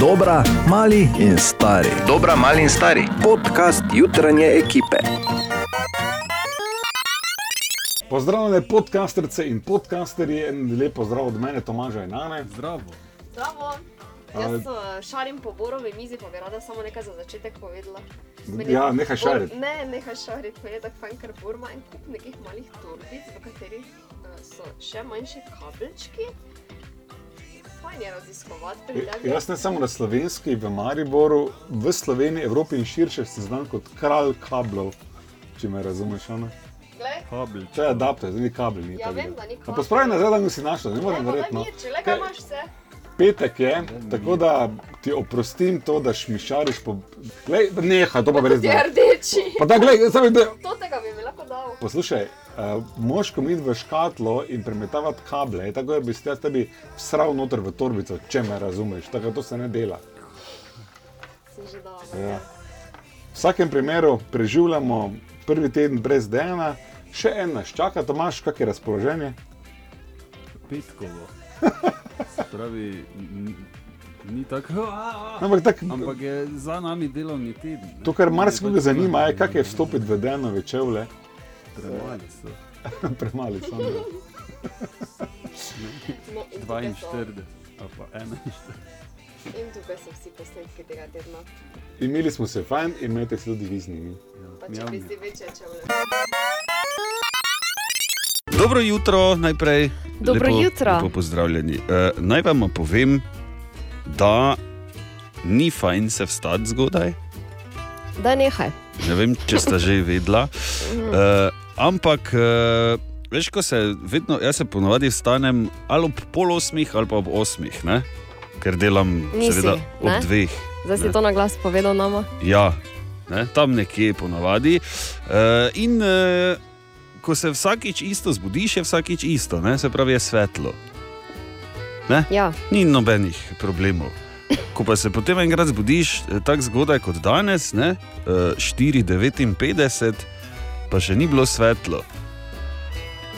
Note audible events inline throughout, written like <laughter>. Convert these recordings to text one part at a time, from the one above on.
Dobra, mali in stari. Dobra, mali in stari. Podcast jutranje ekipe. Pozdravljene podcasterce in podcasterje, en lep pozdrav od mene, Tomaža in Ane. Zdravo. Zdravo. Jaz uh, šarim po borovi mizi, pa bi rada samo nekaj za začetek povedala. Meni je Ja, nehaj bor- šariti. Ne, nehaj šariti. Meni je tako fajn, ker bor ima en kup nekih malih torbic, v katerih uh, so še manjši kabelčki. Fajn je raziskovati pri tebi. E, Ja, Jaz ne samo na slovenski, v Mariboru, v Sloveniji, Evropi in širše se znam kot kralj kablov, če me razumeš. Ona. Glej, Kabel. To je adapter, zdaj ni kabel. Ni Ja, tako vem, da ni kabel. Pospravi nazaj, da ga si našel, ne morem evo, daj verjeti. no. mir, če le Ker kaj imaš vse. Petek je, tako da ti oprostim to, da šmišariš po. Glej, neha, to pa res Ti ne. rdeči. Pa da, glej, zdaj vidiš. To tega bi mi lahko dal. Poslušaj, uh, moš komit v škatlo in premetavati kable, je tako da bi se jaz tebi sral noter v torbico, če me razumeš, tako da to se ne dela. Si že dal. Ja. V vsakem primeru preživljamo prvi teden brez dnevna, še en nas čaka, Tomaš, kak je razpoloženje? Petkovo. Pravi, ni tako, "Aaa", Ampak tak, ampak je za nami delovni teden. ne. to, kar Je marsikoga pač zanima, je, delovni kak je teden. vstopiti v dnevno večevlje, Premali so. <laughs> premali smo. No, in tukaj so- 42, ali pa 41. In tukaj so vsi posnetki tega tedna. Imeli smo se fajn, imejte se tudi vi z njimi. Pa če Mjau, bi mjau. si večer, če vle. Dobro jutro, najprej. Dobro lepo, jutro. Lepo pozdravljeni. Uh, naj vam povem, da ni fajn se vstati zgodaj. Da, nehaj. Ne vem, če ste že vedela. Mhm. Uh, ampak, uh, veš, ko se vedno, jaz se ponovadi vstanem ali ob pol osmih ali pa ob osmih, ne? ker delam Nisi, seveda ob ne? dveh. Zdaj si Ne. to na glas povedal no, nama. Ja, ne, tam nekje ponavadi. Uh, in uh, ko se vsakič isto zbudiš, je vsakič isto, ne? se pravi, je svetlo. Ja, Ni nobenih problemov. Ko pa se potem enkrat zbudiš eh, tako zgodaj kot danes, ne, eh, 4:59, pa še ni bilo svetlo.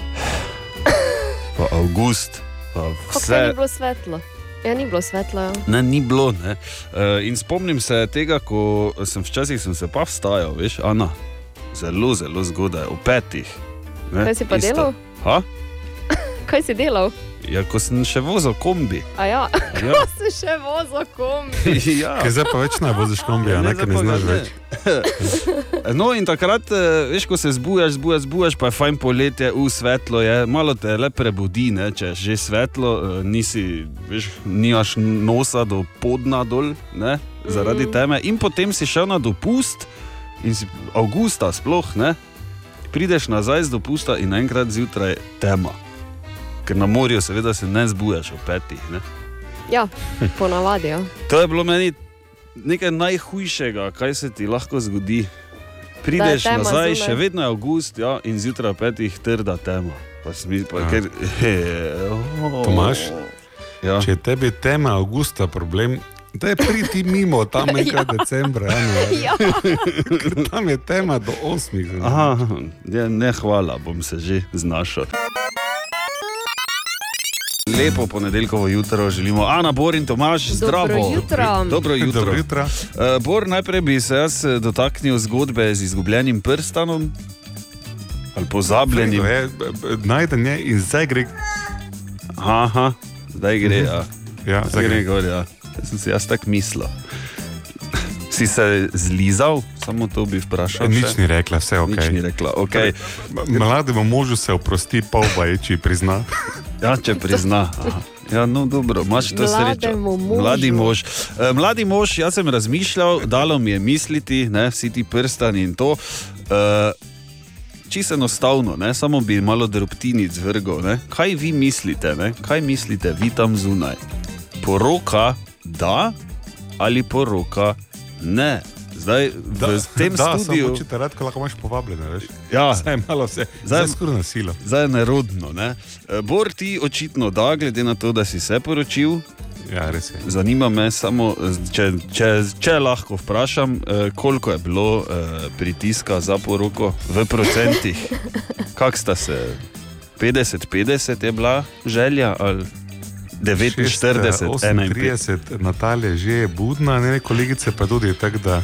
<sighs> Pa avgust, pa kako ni vse. bilo svetlo. Ja, ni bilo svetlo. Ja. Ne, ni bilo. Ne. Eh, In spomnim se tega, ko sem včasih sem se pa vstajal, veš, Ana, zelo, zelo zgodaj, o petih. ne, Kaj si pa isto. delal? Ha? Kaj si delal? Ja, ko sem še vozil kombi. A ja, <laughs> Ja, si še vozil kom. <laughs> ja. Ker zdaj pa več ne voziš kombija, ne, ker ne zdaj pa znaš ga več. ne. <laughs> No, in takrat, eh, veš, ko se zbujaš, zbujaš, zbujaš, pa je fajn poletje, v svetlo je, malo te le prebudi, ne, če je že svetlo, eh, nisi, veš, nimaš nosa do podna dol, ne, zaradi Mhm. mm. teme. In potem si šel na dopust, in si avgusta sploh, ne, prideš nazaj z dopusta in enkrat zjutraj tema. Ker na morju, seveda, se ne zbujaš ob petih. Ne. Ja, ponavadi. Ja. To je bilo meni nekaj najhujšega, kaj se ti lahko zgodi. Prideš tema nazaj, zunaj. še vedno je avgust ja, in zjutraj ob petih trda tema. Pa si mi- pa Ja. ker- oh. Tomaž? Ja. Če je tebi tema avgusta problem, da je priti mimo tam nekaj ja. decembra, januarja. Ja. Ker <laughs> tam je tema do osmih. ne. Aha, ja, ne, hvala, bom se že znašel. Lepo ponedeljkovo jutro želimo, Ana, Bor in Tomaž, Dobro zdravo. jutro. Dobro jutro. Dobro jutro. Eh, Bor, najprej bi se jaz eh, dotaknil zgodbe z izgubljenim prstanom ali pozabljenim. Fredo je, b- b- Najden je E, in zdaj gre. Aha, zdaj gre. Ja. Ja, Zdaj zdaj gre. gre gor, ja. Jaz sem si jaz tako mislil. Si se zlizal, samo to bi vprašal. E, Nič še. ni rekla, vse ok. Nič ni rekla. Okay. M- Mlademu možu se oprosti, pol bajči prizna. Ja, če prizna. Aha. Ja, no, dobro, imaš to srečo. Mlademu možu. Mladi mož. Eh, Mladi mož, jaz sem razmišljal, dalo mi je misliti, ne, vsi ti prstani in to. Uh, Čisto enostavno, ne? samo bi malo drobtinic vrgel. Ne? Kaj vi mislite, ne? kaj mislite vi tam zunaj? Poroka da ali poroka ne? Zdaj, da, v tem da, studiu Samo, če te rad, ko lahko imaš povabljene, veš. Ja. Zdaj je malo vse. Zdaj- Zdaj je skoraj na silo. zdaj je nerodno. Ne? Eh, Bor ti očitno da, glede na to, da si se poročil, Ja, res je. Zanima me samo, če, če, če lahko vprašam, eh, koliko je bilo eh, pritiska za poroko v procentih. Kak sta se? 50-50 je bila želja ali 49, 31. 31, Natalija že je budna, ne, kolegice pa tudi tako da.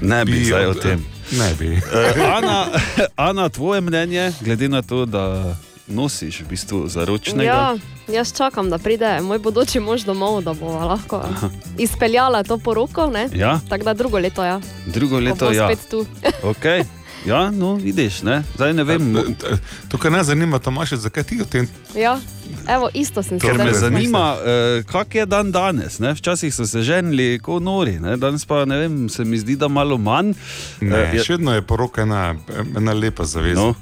Ne bi zdaj o tem. Ne bi. Eh, Ana, Ana, tvoje mnenje, glede na to, da nosiš v bistvu zaročnega? Ja, jaz čakam, da pride moj bodoči mož domov, da bo lahko izpeljala to poroko. ne. ja? Tako da drugo leto, ja. drugo Ko leto bo ja. spet tu. <laughs> Okay. Ja, no, vidiš, ne? zdaj ne vem. mo- Tukaj nas zanima, Tomaš, zakaj ti o tem ja. Evo, isto sem Ker se me zdaj- zanima, eh, kak je dan danes. Ne? Včasih so se ženili kot nori, ne? danes pa ne vem, se mi zdi, da malo manj. Ne, Eh, ja. je, Še vedno je poroka ena, ena lepa zaveza. no, No.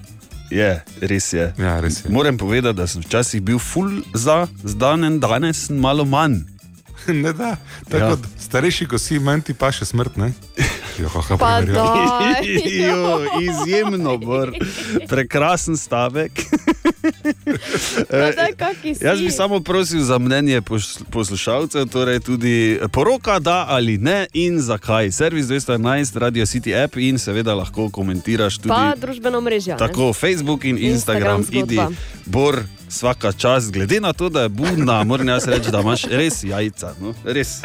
je, res je. Ja, res je. Moram povedati, da sem včasih bil full za, zdaj en danes sem malo manj. <laughs> Ne da, tako Ja. ja. starejši, ko si, manj ti pa še smrt, <laughs> ne? Jo, ha, ha, Pa primerjava. da. Jo, izjemno br, prekrasen <laughs> stavek. Eh, Pa daj, kaki si. Jaz bi samo prosil za mnenje pos- poslušalcev, torej tudi poroka, da ali ne in zakaj. Servis 211, Radio City app in seveda lahko komentiraš tudi Pa družbeno mrežje. tako Facebook in Instagram, Instagram idi zgodba. bor. Vsaka čas, glede na to, da je budna, moram jaz reči, da imaš res jajca. No? Res.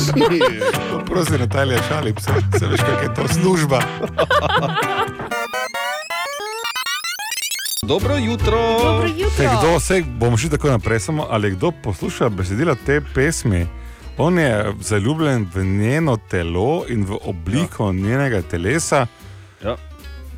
<laughs> Prosim, Natalija, šalim se, se veš, kak je to služba. <laughs> Dobro jutro. Dobro Te jutro. kdo, vse bom šel tako naprej, samo ali kdo posluša besedila te pesmi, on je zaljubljen v njeno telo in v obliko ja. njenega telesa. Ja.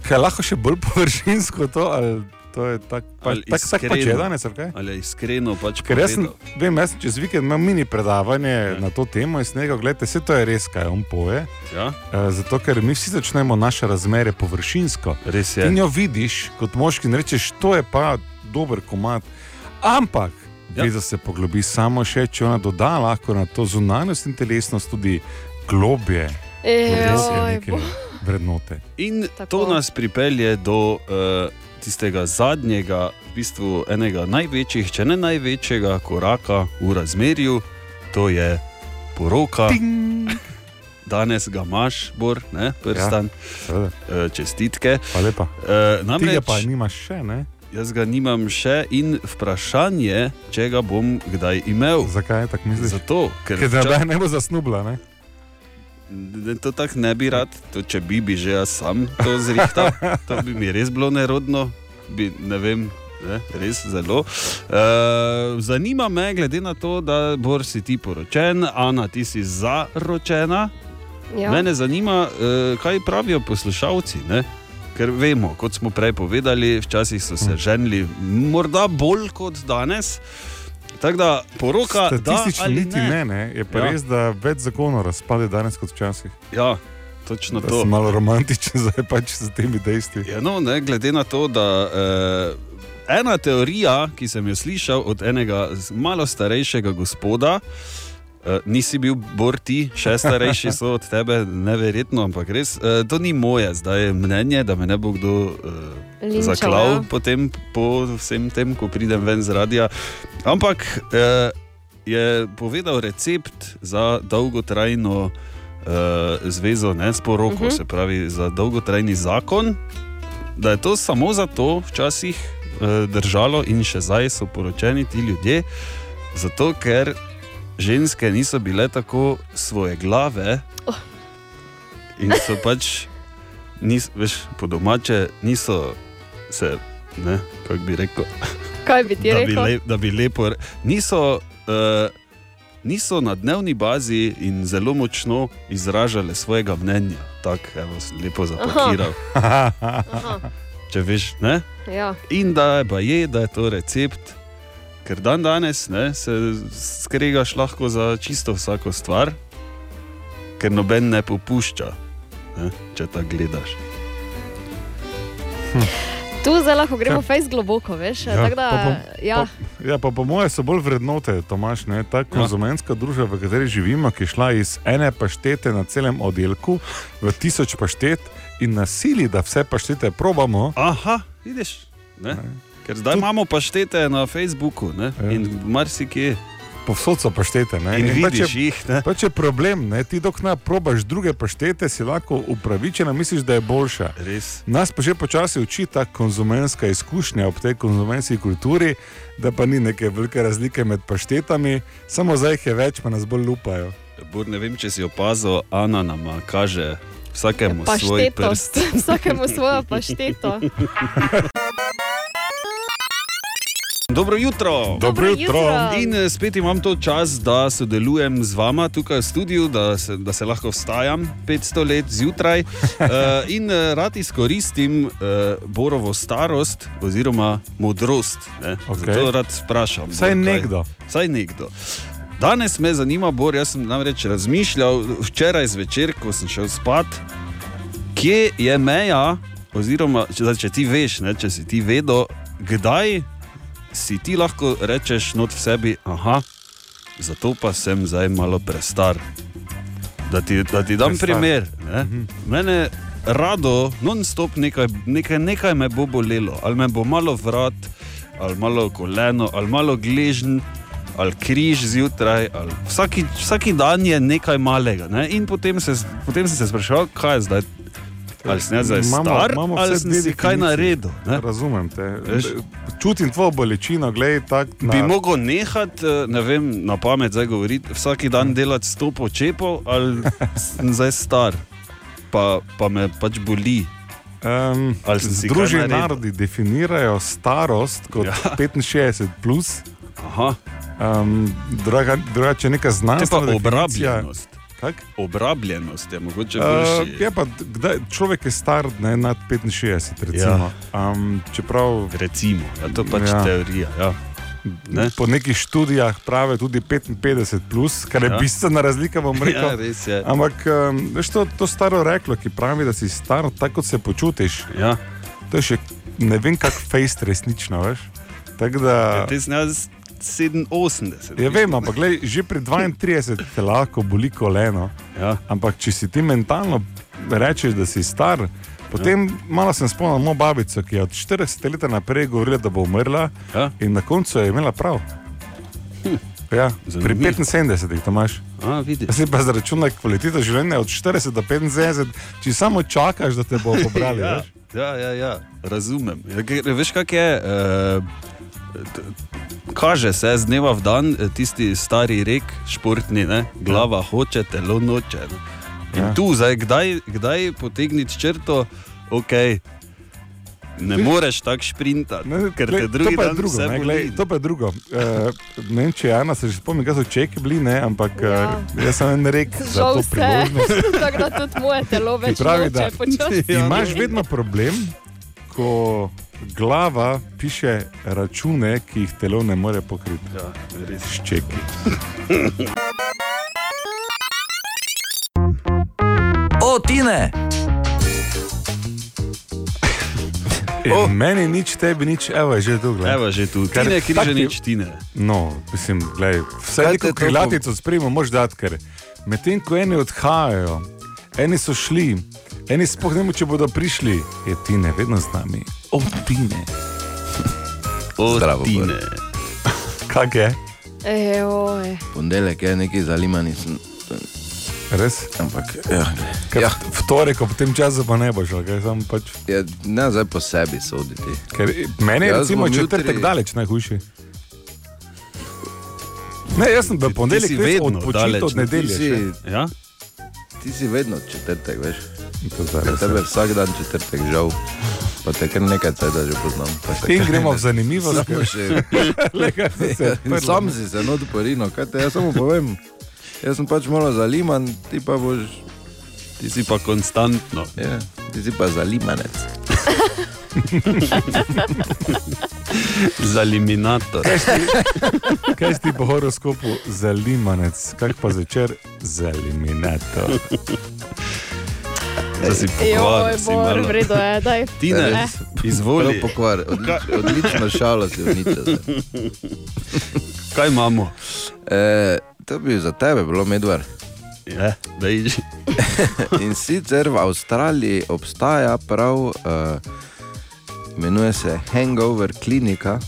Kaj je lahko še bolj <laughs> površinsko to, ali to je tako, <laughs> pa, Ali tak, tak pač je iskreno. danes, ali kaj? Ali je iskreno pač Ker jaz sem, povedal? vem, jaz sem čez vikend imel mini predavanje ja. na to temo in snega, gledajte, vse to je res, kaj on poje. Ja? Eh, Zato, ker mi vsi začnemo naše razmere površinsko. Res Je. je. In jo vidiš kot moški in rečeš, to je pa dober komat. Ampak, Ja. ja. veš, da se poglobi samo še, če ona doda lahko na to zunanjost in telesnost tudi globje, res je Ejoj, neke vrednote. In Tako. Tako. to nas pripelje do uh, tistega zadnjega, v bistvu enega največjih, če ne največjega koraka v razmerju, to je poroka. Ting! Danes ga imaš, bor, ne, prstan, Seveda, ja. čestitke. pa lepa. Uh, Tega namreč pa nimaš še, ne? jaz ga nimam še in vprašanje je, če ga bom kdaj imel. Zakaj tako misliš? Zato, ker Ker da vča- ne bo zasnubla, ne? Ne, To tako ne bi rad, to, če bi, bi že jaz sam to zrihtal. To bi mi res bilo nerodno, bi, ne vem, ne, res zelo. E, zanima me, glede na to, da Bor si ti poročen, Ana, ti si zaročena. Ja. Ja. Mene zanima, e, kaj pravijo poslušalci. Ne? Ker vemo, kot smo prej povedali, včasih so Hm. se ženili morda bolj kot danes. Tako da poroka, da Statistično ali niti ne, ne. je pa Ja. ja. res, da več zakonov razpade danes kot včasih. Ja, točno Da to. sem malo romantičen, <laughs> zdaj pač z temi dejstvi. Ja, no, ne, glede na to, da eh, ena teorija, ki sem jo slišal od enega z- malo starejšega gospoda, eh, nisi bil bor ti, še starejši so od tebe, neverjetno, ampak res, eh, to ni moje zdaj mnenje, da me ne bo kdo. Eh, Linčal, zaklal, ja. potem po vsem tem, ko pridem ven z radia. Ampak eh, je povedal recept za dolgotrajno eh, zvezo, ne s poroko, uh -huh. se pravi za dolgotrajni zakon. Da je to samo zato včasih eh, držalo in še zdaj so poročeni ti ljudje, zato ker ženske niso bile tako svoje glave Oh. in so pač, nis, veš, po domače, niso se, ne, kako bi rekel, Kaj bi ti da bi, rekel? le, da bi lepo, re- niso, uh, niso na dnevni bazi in zelo močno izražale svojega mnenja. Tako, evo, sem lepo <laughs> zapakiral, Aha, če veš, ne. ja. In da je, pa je, da je to recept, ker dan danes ne, se skregaš lahko za čisto vsako stvar, ker noben ne popušča, ne, če tako gledaš. Tu zdaj lahko gremo fejs globoko, veš. Ja, tako da, pa bom- ja. Ja, pa po mojem so bolj vrednote, Tomaš, ne? Ja. ta konzumentska družba, v kateri živimo, ki je šla iz ene paštete na celem oddelku v tisoč paštet in nasili, da vse paštete probamo. Aha, vidiš. Ne? Ker zdaj imamo paštete na Facebooku ne? Ja. in marsikje. povsod so paštete. Ne? In pač je- vidiš jih, ne? Pač je problem, ne? ti dok ne probaš druge paštete, si lahko upravičena misliš, da je boljša. Res. Nas pa že počasi uči ta konzumenska izkušnja ob tej konzumenski kulturi, da pa ni neke velike razlike med paštetami, samo zdaj jih je več, pa nas bolj lupajo. Bor, ne vem, če si opazil, Ana nam kaže vsakemu svoj prst. Paštetost, <laughs> vsakemu svojo pašteto. Dobro jutro! Dobro jutro. In eh, spet imam to čas, da sodelujem z vama tukaj v studiu, da se, da se lahko vstajam 500 let <laughs> zjutraj. Eh, In eh, rad izkoristim eh, Borovo starost oziroma modrost. ne. Okej. Zato rad vprašam. Vsaj Bor, kaj- nekdo. Vsaj nekdo. Danes me zanima, Bor, jaz sem namreč razmišljal včeraj zvečer, ko sem šel spat, kje je meja, oziroma če, zdaj, če ti veš, ne, če si ti vedel, kdaj si ti lahko rečeš not v sebi, aha, zato pa sem zdaj malo prestar. Da ti, da ti dam Prestar. Mhm. prestar. primer. Ne? Mene rado, non-stop nekaj, nekaj, nekaj me bo bolelo, ali me bo malo vrat, ali malo koleno, ali malo gležen. Ali križ zjutraj, ali vsaki, vsaki dan je nekaj malega. Ne? In potem, se, potem sem se spraševal, kaj je zdaj. Ali sem jaz zdaj Imamo- star, imamo ali vse sem dve si kaj definicije. naredil. Ne? Razumem te. Veš? Čutim tvojo bolečino, gledaj tako. Bi mogel nehati, eh, ne vem, na pamet zdaj govoriti, vsak dan delati sto počepov, ali sem zdaj star, pa, pa me pač boli. Um, Ali sem si kaj Združeni naredil? narodi definirajo starost kot Ja. ja. 65, plus, Aha, um, druga, drugače neka te pa no, znanstvena definicija. obrabljenost. Kako? Obrabljenost je mogoče Uh, boljši. je pa, kdaj, človek je star ne, nad 65, recimo. Ja. Um, čeprav Recimo, ja, to je pač Ja. ja. teorija. Ja. Ne? ne? po nekih študijah pravijo tudi 55, plus, kar je ja. Ja. bistvena razlika, bom rekel. <laughs> Ja, res je. Ampak um, veš, to, to staro reklo, ki pravi, da si star, tako kot se počutiš. Ja. To je še ne vem, kak fejst resnično, veš. Tako da, Ja, te sem jaz 87. ja, vem, ampak glej, že pri 32 te lahko boli koleno, Ja. ampak če si ti mentalno rečeš, da si star, potem ja. malo sem spomnil mojo babico, ki je od 40 let naprej govorila, da bo umrla Ja. Hm. in na koncu je imela prav. Ja, pri zanimivo. 75 to imaš. A, vidiš. Zdaj pa zračunaj kvaliteto življenja od 40 do 75, če samo čakaš, da te <laughs> bo pobrali. ja, veš. Ja, ja, ja, razumem. Ja, ker Veš, kak je? Uh, kaže se z dneva v dan eh, tisti stari rek, športni, ne? glava hoče, telo noče. Ne? In Ja. ja. tu zdaj, kdaj, kdaj potegniti črto, ok. Ne moreš tako šprintati, Ne, ker glej, te drugi to pa je dan drugo, vse ne, boli. glej, to pa je drugo. Uh, ne vem, če je Ana se že spomni, kaj so čeki bili, ne, ampak ja. Ja. uh, jaz sem en rek za to Žal vse, priložnost. <laughs> tako da tudi moje telo več pravi, da- noče počasi. Ja, <laughs> Imaš vedno problem, ko glava piše račune, ki jih telo ne more pokriti. Ja, res. S čeki. <laughs> O, Tine! In Oh. Meni nič, tebi nič, evo je že dolgo. Evo že tu, Ker tak tine, je- križanič, tine. No, mislim, glej, vse Kaj te neko to krilatico sprejmo, moš dati, ker medtem ko eni odhajajo, eni so šli, eni sploh ne vemo, če bodo prišli, je ti ne vedno z nami. O, ti ne. O, Zdravo, tine. <laughs> Kaj je? Ejoj, Ponedeljek je neki zaliman, nisem, Res? ampak ja, Ker Ja. V torek ob tem času pa ne boš, ali kaj sam pač. je, ne zdaj po sebi soditi. Ker eh, meni je Jaz recimo bom jutri- četrtek jutri... daleč najhujši. Ne, jaz sem bil ponedeljek, si res vedno odpočital daleč, od ne? Ti nedelje. si, še. Ja? ti si vedno četrtek, veš. In to ja. zdaj Za res. tebe je vsak dan četrtek, žal. Pa te kar nekaj cajta že poznam. pa te In kar- gremo v zanimivo, Samo <laughs> še- <laughs> Sam si se not porino, kaj te jaz samo povem. Jaz sem pač malo zaliman, ti pa boš, Ti si pa konstantno. ja, ti si pa <laughs> zalimanec. Za eliminator. Kaj si ti po horoskopu zalimanec, kak pa zvečer zaliminator. Da si joj, pokvaril, si bor, malo. vredno je, daj. Eh, Ja. Tine, Prav izvoli, pokvar, odlič, odlično šalo si uničil. zdaj. <laughs> kaj imamo? E, to bi za tebe bilo medvar. Je, Ja, daj, že. <laughs> In sicer v Avstraliji obstaja prav, uh, imenuje se Hangover klinika,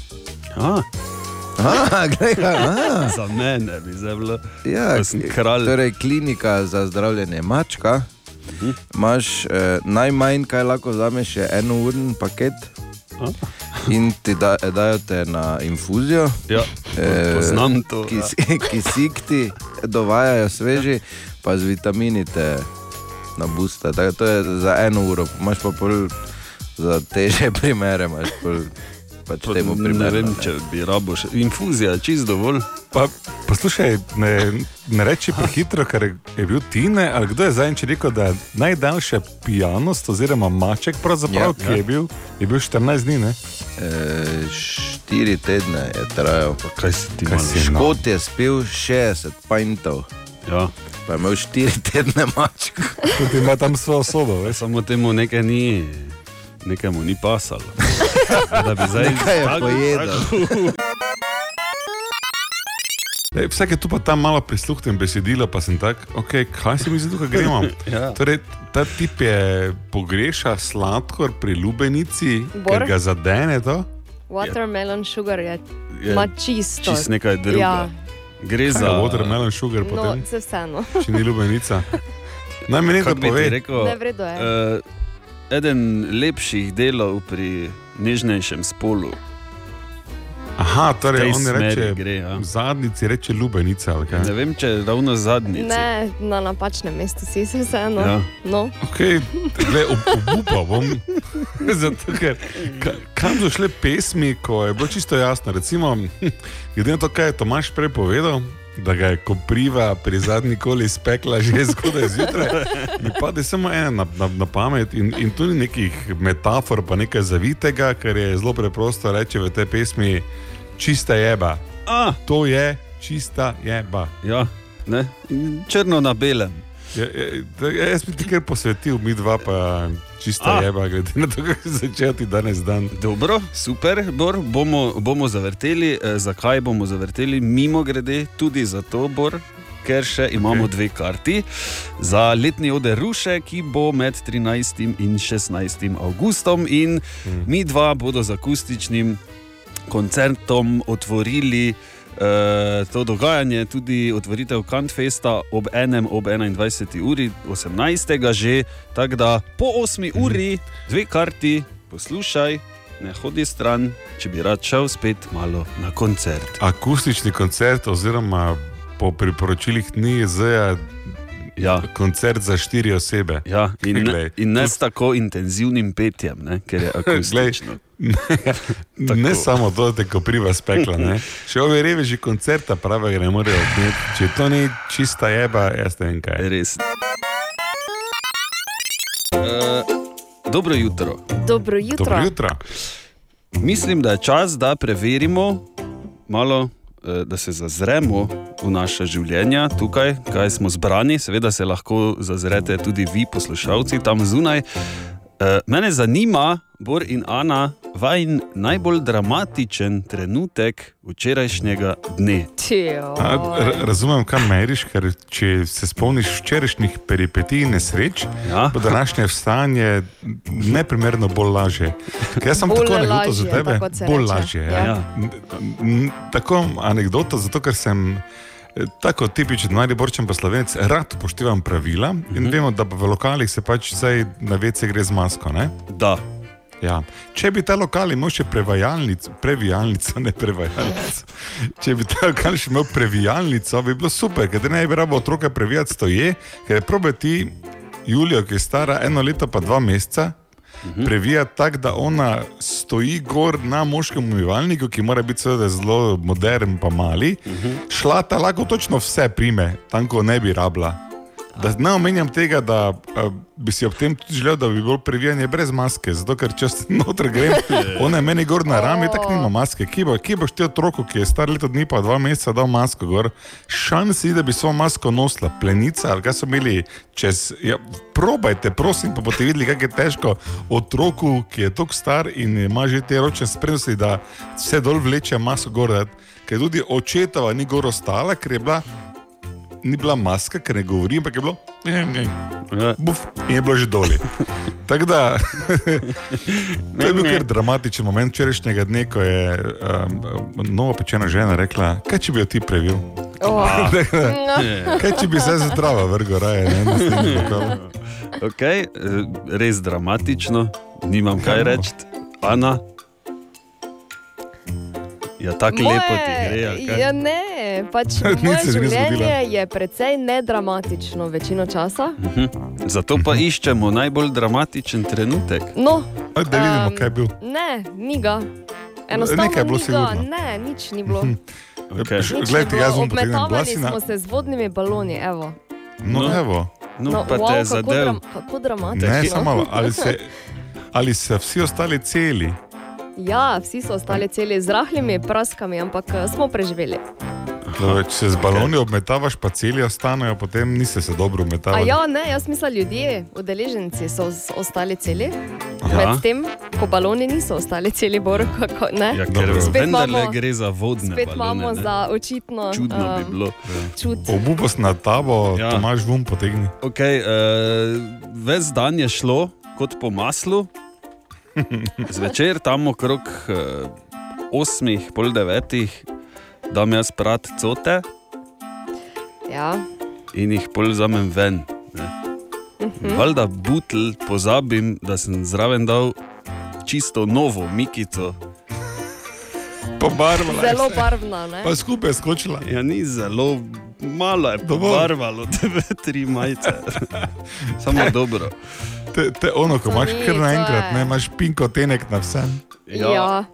A, Aha, glej, ga, aha. Za mene bi zdaj bilo. Ja, Da sem kralj. Torej, klinika za zdravljenje mačka. Mhm. Imáš eh, najmanj, kaj lahko vzameš, je enouren paket. In ti da, dajo te na infuzijo, Ja, Eh, poznam to. ja. ki, <laughs> si- kisik ti dovajajo sveži, pa z vitamini te nabusta. Tako, to je za eno uro, imaš pa pol za teže <laughs> primere, imaš pol, pač Pa temu Ne primerno. vem, ne. če bi rabo še. Infuzija je čist dovolj. Pa, poslušaj, ne, ne reči prehitro, ker je- je bil Tine, ali kdo je zadnjič rekel, da je najdaljša pijanost, oziroma maček, Ja. pravzaprav, ki je bil, je bil 14 dni. Ne? E, štiri tedne je trajal. Pa kaj si ti Kaj malo? si? No. Kot je spil 60 pintov, Ja, pa je imel 4 tedne mačka. Tudi ima tam svojo sobo, veš. samo temu nekaj ni, nekaj mu ni pasalo. Da bi zdaj Nekaj je pojedel. Ej, Vsake tu pa tam malo prisluhnem besedila, pa sem tak, okay, kaj se mi zdi, da gremo. ja. torej, ta tip je pogreša sladkor pri lubenici, Bor? ker ga zadene to. Watermelon sugar je, Je ma čisto. Čist nekaj drugega. Ja. Gre Za za watermelon sugar, No, potem, se vseeno. če <laughs> ni lubenica. Naj mi nekdo Kako bi ti pove, rekel? Ne, v redu je. eh, Eden lepših delov pri nežnejšem spolu. aha, torej tej on smeri reče, gre, ja. v zadnjici reče lubenica. ali kaj? Ne vem, če ravno zadnjič. Ne, na napačnem mestu si se vseeno. Ja. No, Okay, le obupal bom. <laughs> Zato, ker, ka- kam so šle pesmi, ko je bilo čisto jasno? Recimo, <laughs> glede na to, kaj je Tomaš prej povedal, da ga je kopriva pri zadnji koli spekla že zgodaj zjutraj, mi pade samo ena na, na, na pamet in, in tu ni nekih metafor, pa nekaj zavitega, ker je zelo preprosto reči v tej pesmi čista jeba. A, To je čista jeba. <laughs> ja, ne? In Črno na belem. Ja, ja, da- ja, jaz bi ti kar posvetil, mi dva pa čista A. jeba, glede na to, kako si začel ti danes dan. Dobro, super, Bor, bomo, bomo zavrteli. Eh, zakaj bomo zavrteli? Mimo grede, tudi zato, Bor, ker še imamo okay. dve karti za letni ode Ruše, ki bo med 13. in 16. augustom, in mm. mi dva bodo z akustičnim koncertom otvorili. eh, To dogajanje, tudi otvoritev Kantfesta ob 1. ob 21. uri, 18. že, tako da po 8. uri, dve karti, poslušaj, ne hodi stran, če bi rad šel spet malo na koncert. Akustični koncert, oziroma po priporočilih NIZ, Ja, koncert za štiri osebe. ja in, ne, Glej, in ne s tako intenzivnim petjem, ne, ker <laughs> je akustično. Ne, Tako. <laughs> ne samo to, da ko priva spekla, ne. še ove reveži koncerta pravega ne morejo odneti. Če to ni čista jeba, jaz ne vem kaj. Res. Eh, Dobro jutro. dobro jutro. Dobro jutro. Mislim, da je čas, da preverimo, malo, eh, da se zazremo v naše življenje tukaj, kaj smo zbrani. Seveda se lahko zazrete tudi vi, poslušalci tam zunaj. Eh, Mene zanima, Bor in Ana, vajen najbolj dramatičen trenutek včerajšnjega dne. Čijo. A, ra- razumem, kaj meriš, ker če se spomniš včerajšnjih peripetij in nesreč, Ja? Bo današnje stanje neprimerno bolj lažje. Ker jaz sem Bolj tako anegdoto za lažje, tebe, tako se bolj reče. lažje. Ja. Ja. N- n- Tako anegdoto, zato ker sem. eh, Tako tipičen mariborčen poslovenec, rad upoštevam pravila in Mhm. uh -huh. vemo, da pa v lokalih se pač vsaj na vece gre z masko. Ne? Da, Ja. Če bi ta lokal imel še prevajalnico, previjalnico, ne prevajalnico, če bi ta lokal še imel previjalnico, bi bilo super, ker ne bi rabo otroka previjati stoje, ker probe ti Julijo, ki je stara eno leto pa dva meseca. Previja tako, da ona stoji gor na moškem umivalniku, ki mora biti seveda zelo modern, pa mali. Uh -huh. Šla ta lahko točno vse prime, tam ko ne bi rabila. Da ne omenjam tega, da uh, bi si ob tem tudi želel, da bi bilo previjanje brez maske, zato ker če se noter grem, ona je meni gor na rami, tako nima maske. Kje, bo, kje boš ti otroku, ki je star leto dni, pa dva meseca dal masko gor, šansi, da bi svojo masko nosila, plenica ali kaj so imeli čez. Ja, probajte, prosim, pa boste videli, kako je težko otroku, ki je tako star in ima že te ročne spremnosti, da se dol vleče masko gor. da- Ker tudi očetova ni gor ostala, ker je bila ni bila maska, ker ne govorim, ampak je bilo. Buf, in je bilo že dolje. Tako <laughs> da, to je bil kar dramatičen moment včerajšnjega dne, ko je um, nova pečena žena rekla: Kaj če bi jo ti previl? Oh. <laughs> No. Tako da, Kaj če bi No, se zdravo vrgel, raje ne bi smel. Okay, eh, res dramatično, nimam kaj reči. Ana, ja, tako Moje- lepo ti gre. ali kaj? Ja, ne, pač <laughs> Nič moje se še ni zgodilo. življenje je precej nedramatično večino časa. Mhm. Zato Mhm. pa iščemo najbolj dramatičen trenutek. No, Da vidimo, Um, kaj je bil. ne, ni ga. Enostavno Nekaj je bilo ni ga, sigurno. Hm, ne, nič ni bilo. Okay. Nič Glej, ni tega bilo. zunaj potegnem Obmetavali glasina. smo se z vodnimi baloni, evo. No. No, evo. No, no, pa wow, wow, te je kako, zadev. dram, kako dramatično. Ne, samo malo. ali se, ali se vsi ostali celi. <laughs> Ja, vsi so ostali celi z rahlimi praskami, ampak eh, smo preživeli. Dobro, Če se z baloni obmetavaš, pa celi ostanejo, potem nisi se dobro A obmetaval. ja, ne, jaz mislim, ljudje, udeleženci so z- ostali celi, Ja, medtem ko baloni niso ostali celi, bor, kako ne. ja, ker Dobro. Spet vendarle imamo- gre za vodne Spet balone. imamo ne. za očitno Čudno bi em, bilo. čut. Obupos na tabo, Ja. ja. Tomaž vum potegni. Okay, uh, ves dan je šlo kot po maslu, zvečer tam okrog uh, 8, pol 9, da mi jaz prat cote Ja. in jih pol zamem ven. Ne. Hm? Mhm. Valjda butl pozabim, da sem zraven dal čisto novo mikico. <laughs> Pobarvala. je Zelo se. barvna, ne? Pa skupaj je skočila. Ja, ni zelo malo je Dovolj. pobarvalo, tebe <laughs> tri majice. <laughs> Samo dobro. Te, te ono, No, ko To imaš ni, kar to naenkrat, je. ne imaš pinko tenek na vsem. Ja. ja.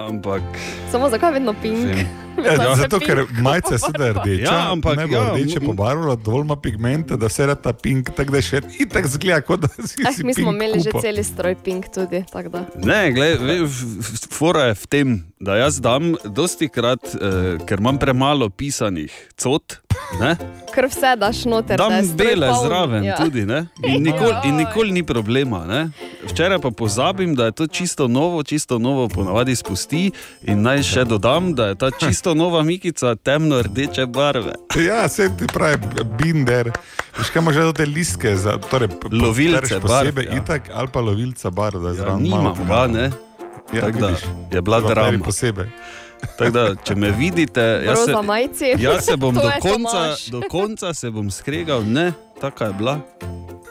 ampak. <laughs> Samo zakaj vedno pink? Vem. Ja, <laughs> Vedno se zato, pink ker majica sedaj rdeča, Ja, ampak ne bo ja, rdeče m- pobarvala, dovolj ima pigmenta, da se rata pink, tako da še <laughs> itak zgleda, kot da si Eh, si mi smo pink imeli že kupil. celi stroj pink tudi, tako da. Ne, gled, ve, v- v- fora je v tem, da jaz dam dosti krat, eh, ker imam premalo pisanih cot, ne, Ker vse daš noter, dam da je stroj bele poln. zraven ja. tudi. Ne, in nikoli nikol ni problema. Ne. Včeraj pa pozabim, da je to čisto novo, čisto novo ponavadi spusti in naj še dodam, da je <laughs> ta čisto nova mikica temno rdeče barve. Ja, se ti pravi, binder. Veš, kaj imaš že te listke, za, torej p- pobereš Lovilce barv, posebej, ja. itak, ali pa lovilca bar, da je Ja, zraven. malo nimam ga, pomaga. ne. Ja, Tako da vidiš, je bila Dva peri drama. <laughs> posebej. Tako da, če me vidite, jaz se, Roza majici. Jaz se bom <laughs> To do je konca, Tomaž. do konca se bom skregal, ne, taka je bila.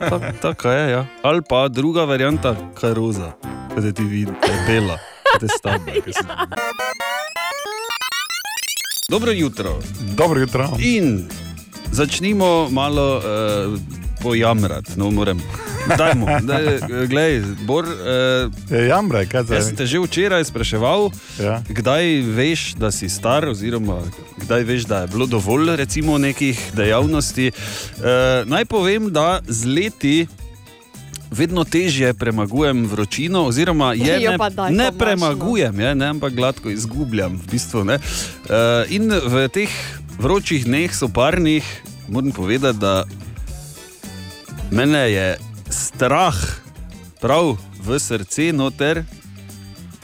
Tak, <laughs> taka je, ja. Ali pa druga varianta, kaj je roza, kot je ti vidiš, bela, te stavbe. Dobro jutro Dobro jutro. in začnimo malo uh, pojamrati, no moram. Dajmo, daj, eh, glej, Bor, uh, Je jamra, E, kaj jaz zdaj? sem te že včeraj spraševal, Ja. Kdaj veš, da si star, oziroma kdaj veš, da je bilo dovolj recimo, nekih dejavnosti? E, naj povem, da z leti vedno težje premagujem vročino, oziroma je Jo ne, pa daj, ne Tomaž, no. premagujem, je, ne, ampak gladko izgubljam. V bistvu, ne. e, in v teh vročih dneh, soparnih, moram povedati, da mene je strah, prav v srce noter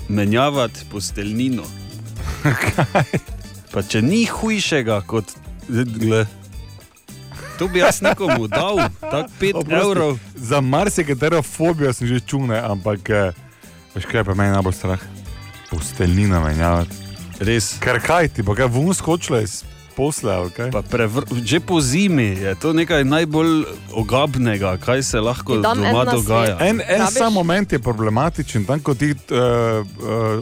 menjavati posteljnino. Pa če ni hujšega kot le. To bi jaz nekomu dal, tako 5 Oprosti, evrov. Za marsikatero fobijo sem že čune, ampak eh, veš kaj je pa meni najbolj strah? Posteljnina menjavati. Res. Ker kaj ti bo, kaj vun skočila iz posla ali kaj? Pa Prevr, že po zimi je to nekaj najbolj ogabnega, kaj se lahko Ti dam en doma nasvet. dogaja. En, en Rabiš? sam moment je problematičen, tam ko ti uh, uh,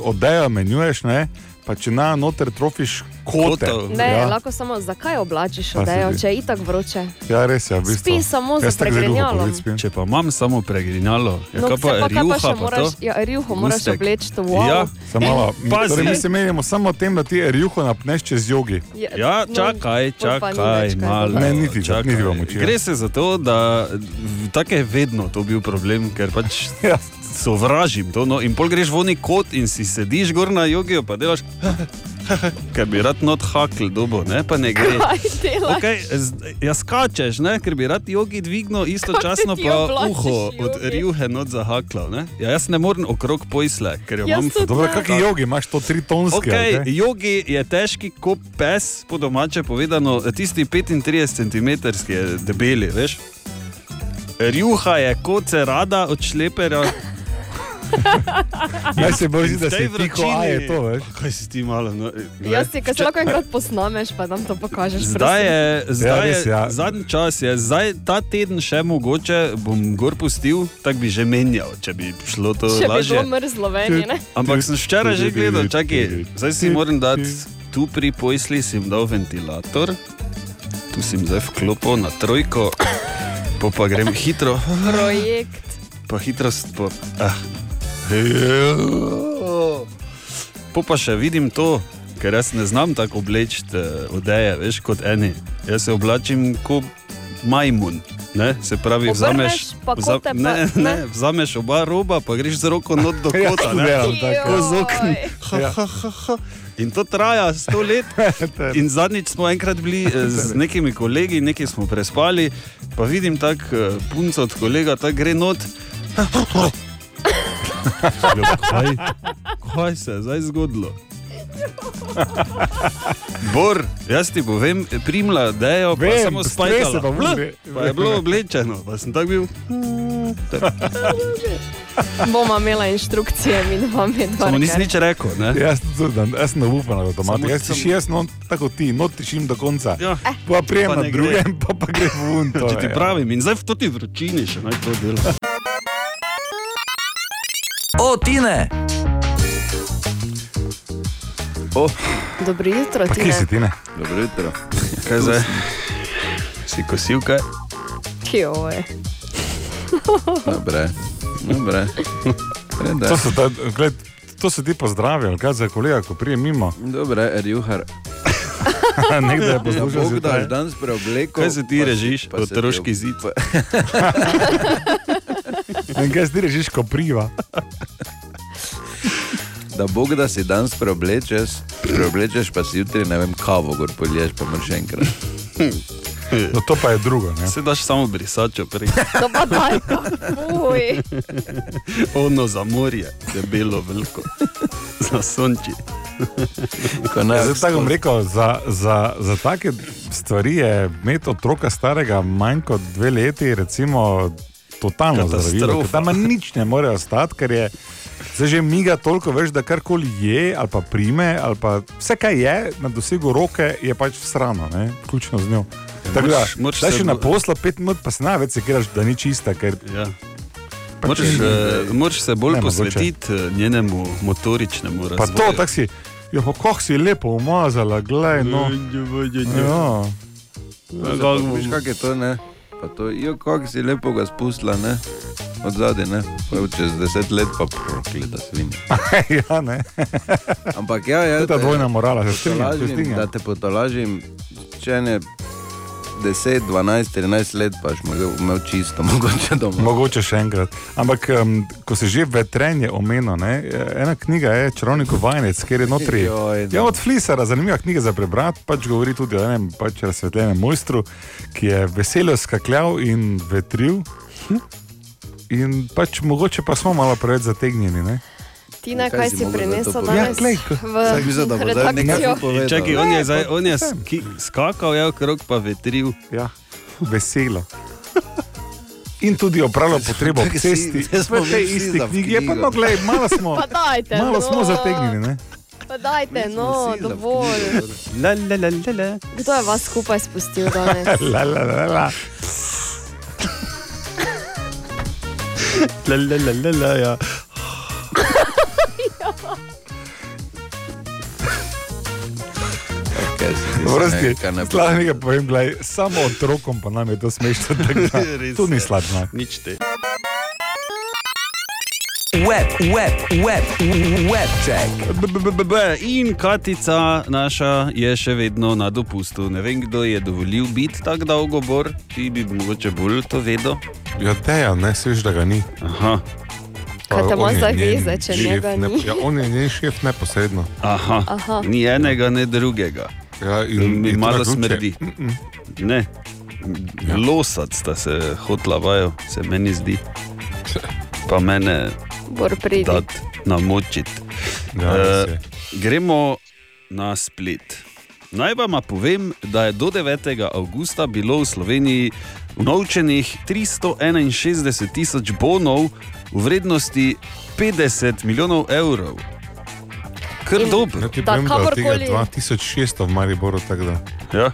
odejo menjuješ, ne? pa če na noter trofiš kote. Kotov. Ne, ja. ja. lahko samo zakaj oblačiš Pa se odejo, vidi. če je itak vroče. ja, res je. V bistvu. Spi samo za Jaz tako zelo pregrinjalom. popoldne spim. Če pa imam samo pregrinjalo, je No, kaj pa se pa kaj pa rjuha, še pa to. moraš, ja, rjuho moraš Gustek. obleči, to wow. Ja, Samo malo, mi- <laughs> Pazi. torej, mi se menimo samo o tem, da ti rjuho napneš čez jogi. Je- Ja, no, čakaj, pol pa ni več čakaj, kaj malo. dodati. Ne, niti to, čakaj. niti vam oči, ja. Gre se za to, da v- tako je vedno to bil problem, ker pač <laughs> Ja. sovražim to. No, in pol greš v neki kot in si sediš gor na jogijo, pa delaš, <laughs> ker bi rad not hakl dobo, ne pa ne gre. <laughs> Kaj delaš? Okay, ja, skačeš, ne, ker bi rad jogi dvignil, istočasno ti pa oblačiš uho od jogi? rjuhe not zahaklal. Ne? Ja, jaz ne morem okrog pojsle, ker jo Jaz imam tudi Dobro, Ne. kakšni jogi imaš to tri tonske? Okay, jogi je težki kot pes, po domače povedano, tisti 35 cm debeli, veš. Rjuha je kot se rada od šleperja. <laughs> Naj <laughs> se bolj zdi, da V se tej tiho, a je to, veš. Kaj si ti malo? No, Jaz si, kaj se lahko enkrat posnameš, pa nam to pokažeš. Zdaj je, zdaj res, je ja. ja. zadnji čas, je, zdaj, ta teden še mogoče bom gor pustil, tako bi že menjal, če bi šlo to prosim. Če bi bilo lažje. mrzlo meni, <laughs> ne? Ampak sem včeraj že gledal, čakaj, zdaj si moram dati tu pri pojsli, sem dal ventilator, tu sem zdaj vklopil na trojko, pa pa grem hitro, Projekt. pa hitro, s- pa, ah. Po pa še vidim to, ker jaz ne znam tako obleči odeje, veš, kot eni. Jaz se oblačim kot majmun. Ne? Se pravi, Obrneš, vzameš, pa vza- kote pa- ne, ne. ne, vzameš oba roba, pa greš z roko not do kota. Ne? <laughs> Ja, tako. Ko z okn. Joj. Ha, ha, ha, ha. In to traja sto <laughs> let. In zadnjič smo enkrat bili eh, Torej. z nekimi kolegi, nekaj smo prespali, pa vidim tako eh, punco od kolega, ta gre not. Eh, Jo, Kaj, kaj se je zdaj zgodilo? Bor, jaz ti povem, primla dejo, pa Vem, samo strese spajkala. pa Bla, vse. Pa je bilo oblečeno, pa sem tak bil. Bomo imela inštrukcije, mi dva med Samo nisi nič rekel, ne? Ja, Jaz sem tudi, da- jaz sem nabupan na avtomatih, Samo- jaz si samo- še jaz, no, tako ti, no tišim do konca. Ja. Pa prijem Pa na ne gre. drugem, pa pa gre vun. to Če ti je. pravim, in zdaj v to ti vročini še naj to dela. O, Tine! Dobro jutro, Pa ti. kje si ti, ne? Dobro jutro. Kaj zdaj? Si kosil kaj? <laughs> Kjoj. Dobre. Dobre. Reda. To so, ta, gled, to so ti pozdravi, ali kaj za kolega, ko prije mimo. Dobre, er Erjuhar. <laughs> Nekdo je Ja, poslušal Bog daš zjutraj. danes preobleko. Kaj se <laughs> <laughs> ti pa- režiš? pa se ti Otroški ob- zid. pa- <laughs> In kaj si ti režiš, ko priva? Da Bog da si danes preoblečeš, preoblečeš pa si jutri, ne vem, kavo gor poliješ, pa moraš še enkrat. No to pa je drugo, ne? Se daš samo brisačo prej. To pa daj. Uj. Ono za morje, debelo veliko. Za sonči. Ko Ja, ne, Zdaj tako bom rekel, za, za, za take stvari je imeti otroka starega manj kot dve leti, recimo, totalno zdravilo. Katastrofa. Tam nič ne more ostati, ker je se že miga toliko več, da karkoli je ali pa prime, ali pa vse, kar je na dosegu roke, je pač srano, ne? vključno z njo. Tako da, moraš- moraš da se še na bo- posla pet minut, pa se največ sekiraš, da ni čista, ker Ja. Pa Moraš, če- eh, Moraš se bolj Ne, mogoče. posvetiti eh, njenemu motoričnemu pa razvoju. to tako si, jo, kako si lepo umazala, glej, no. Ja. <laughs> Veš, kak je to, ne? Pa to, jo, kako si lepo ga spustila, ne? Od zadaj, ne? Pa čez deset let pa prokleta svinja. ja, ne. Ampak ja, ja. To je ta dvojna morala, se strinjam, se Potolažim, strinjam. da te potolažim, če ne 10, 12, 13 let, pa še imel čisto, mogoče doma. Mogoče še enkrat. Ampak, um, ko se že vetrenje omenilo, ne, e, ena knjiga je Čarovnik vajenec, kjer je notri. Joj, da. Ja, od Flisara, zanimiva knjiga za prebrati, pač govori tudi o enem pač razsvetljenem mojstru, ki je veselo skakljal in vetril. Hm? In pač mogoče pa smo malo preveč zategnjeni. Ne? Tina, Kaj kaj si si mogla za prinesla to danes? povedati? Ja, glej, ko- Saj mislim, da v bo zdaj redakcijo. nekaj In povedal. Čakaj, on je, zdaj, on je vsem. ski, skakal, je okrog pa vetril. Ja, <laughs> veselo. In tudi opravljal potrebo ob <laughs> Tako si- cesti. zdaj smo V tej mi vsi isti za knjigi je pa knjigo. no, glej, malo smo, <laughs> Pa dajte. malo smo no. zategnjeni. Ne? Pa dajte, no, dovolj. La, la, la, la, la. Kdo je vas skupaj spustil danes? <laughs> La, la, la, la. La, la, la, la, la, ja. Vrsti, slabo nekaj povem, gledaj, samo otrokom pa nam je to smešno. tako <laughs> da Res To ni je. slab znak. Nič te. Web, web, web, webček. B, b, b, b. In Katica naša je še vedno na dopustu. Ne vem, kdo je dovolil biti tako dolgo, Bor, ti bi mogoče bolj to vedel. Ja, teja, ne sliš, da ga ni. Aha, Kaj te ima za veze, če njega ni? Ja, on je njen šef neposredno. aha. Aha. ni enega, ne drugega. Ja, Mi malo smrdi. Mm, Ne. Ja. Losac sta se hotla vajo, se meni zdi. Pa mene Bor pridi. da namočiti. Ja, Eh, res je. gremo na splet. Naj vam povem, da je do 9. avgusta bilo v Sloveniji unovčenih 361 tisoč bonov v vrednosti 50 milijonov evrov. Kar In- dobro. Ja, ti Da, povem, da od tega kakorkoli- 2600 v Mariboru, tako da. Ja,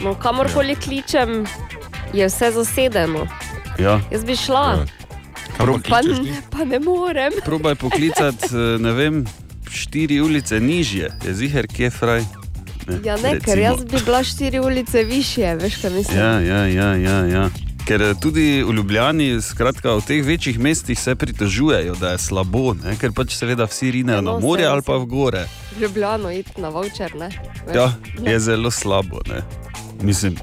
No, kamorkoli kličem, je vse zasedeno. ja. Jaz bi šla, Kamor pa, kličeš ti? pa ne morem. Probaj poklicati, eh, ne vem, štiri ulice nižje, je ziger, kje je fraj. Ja, ne, ker recimo. jaz bi bila štiri ulice više, veš kaj mislim. Ja, ja, ja, ja, ja. Ker eh, tudi v Ljubljani, skratka v teh večjih mestih, se pritožujejo, da je slabo, ne? ker pač seveda vsi rinejo na No, morje saj, ali pa v gore. Ljubljano iti na voucher, ne. veš. Ja, je zelo slabo. Ne? Mislim,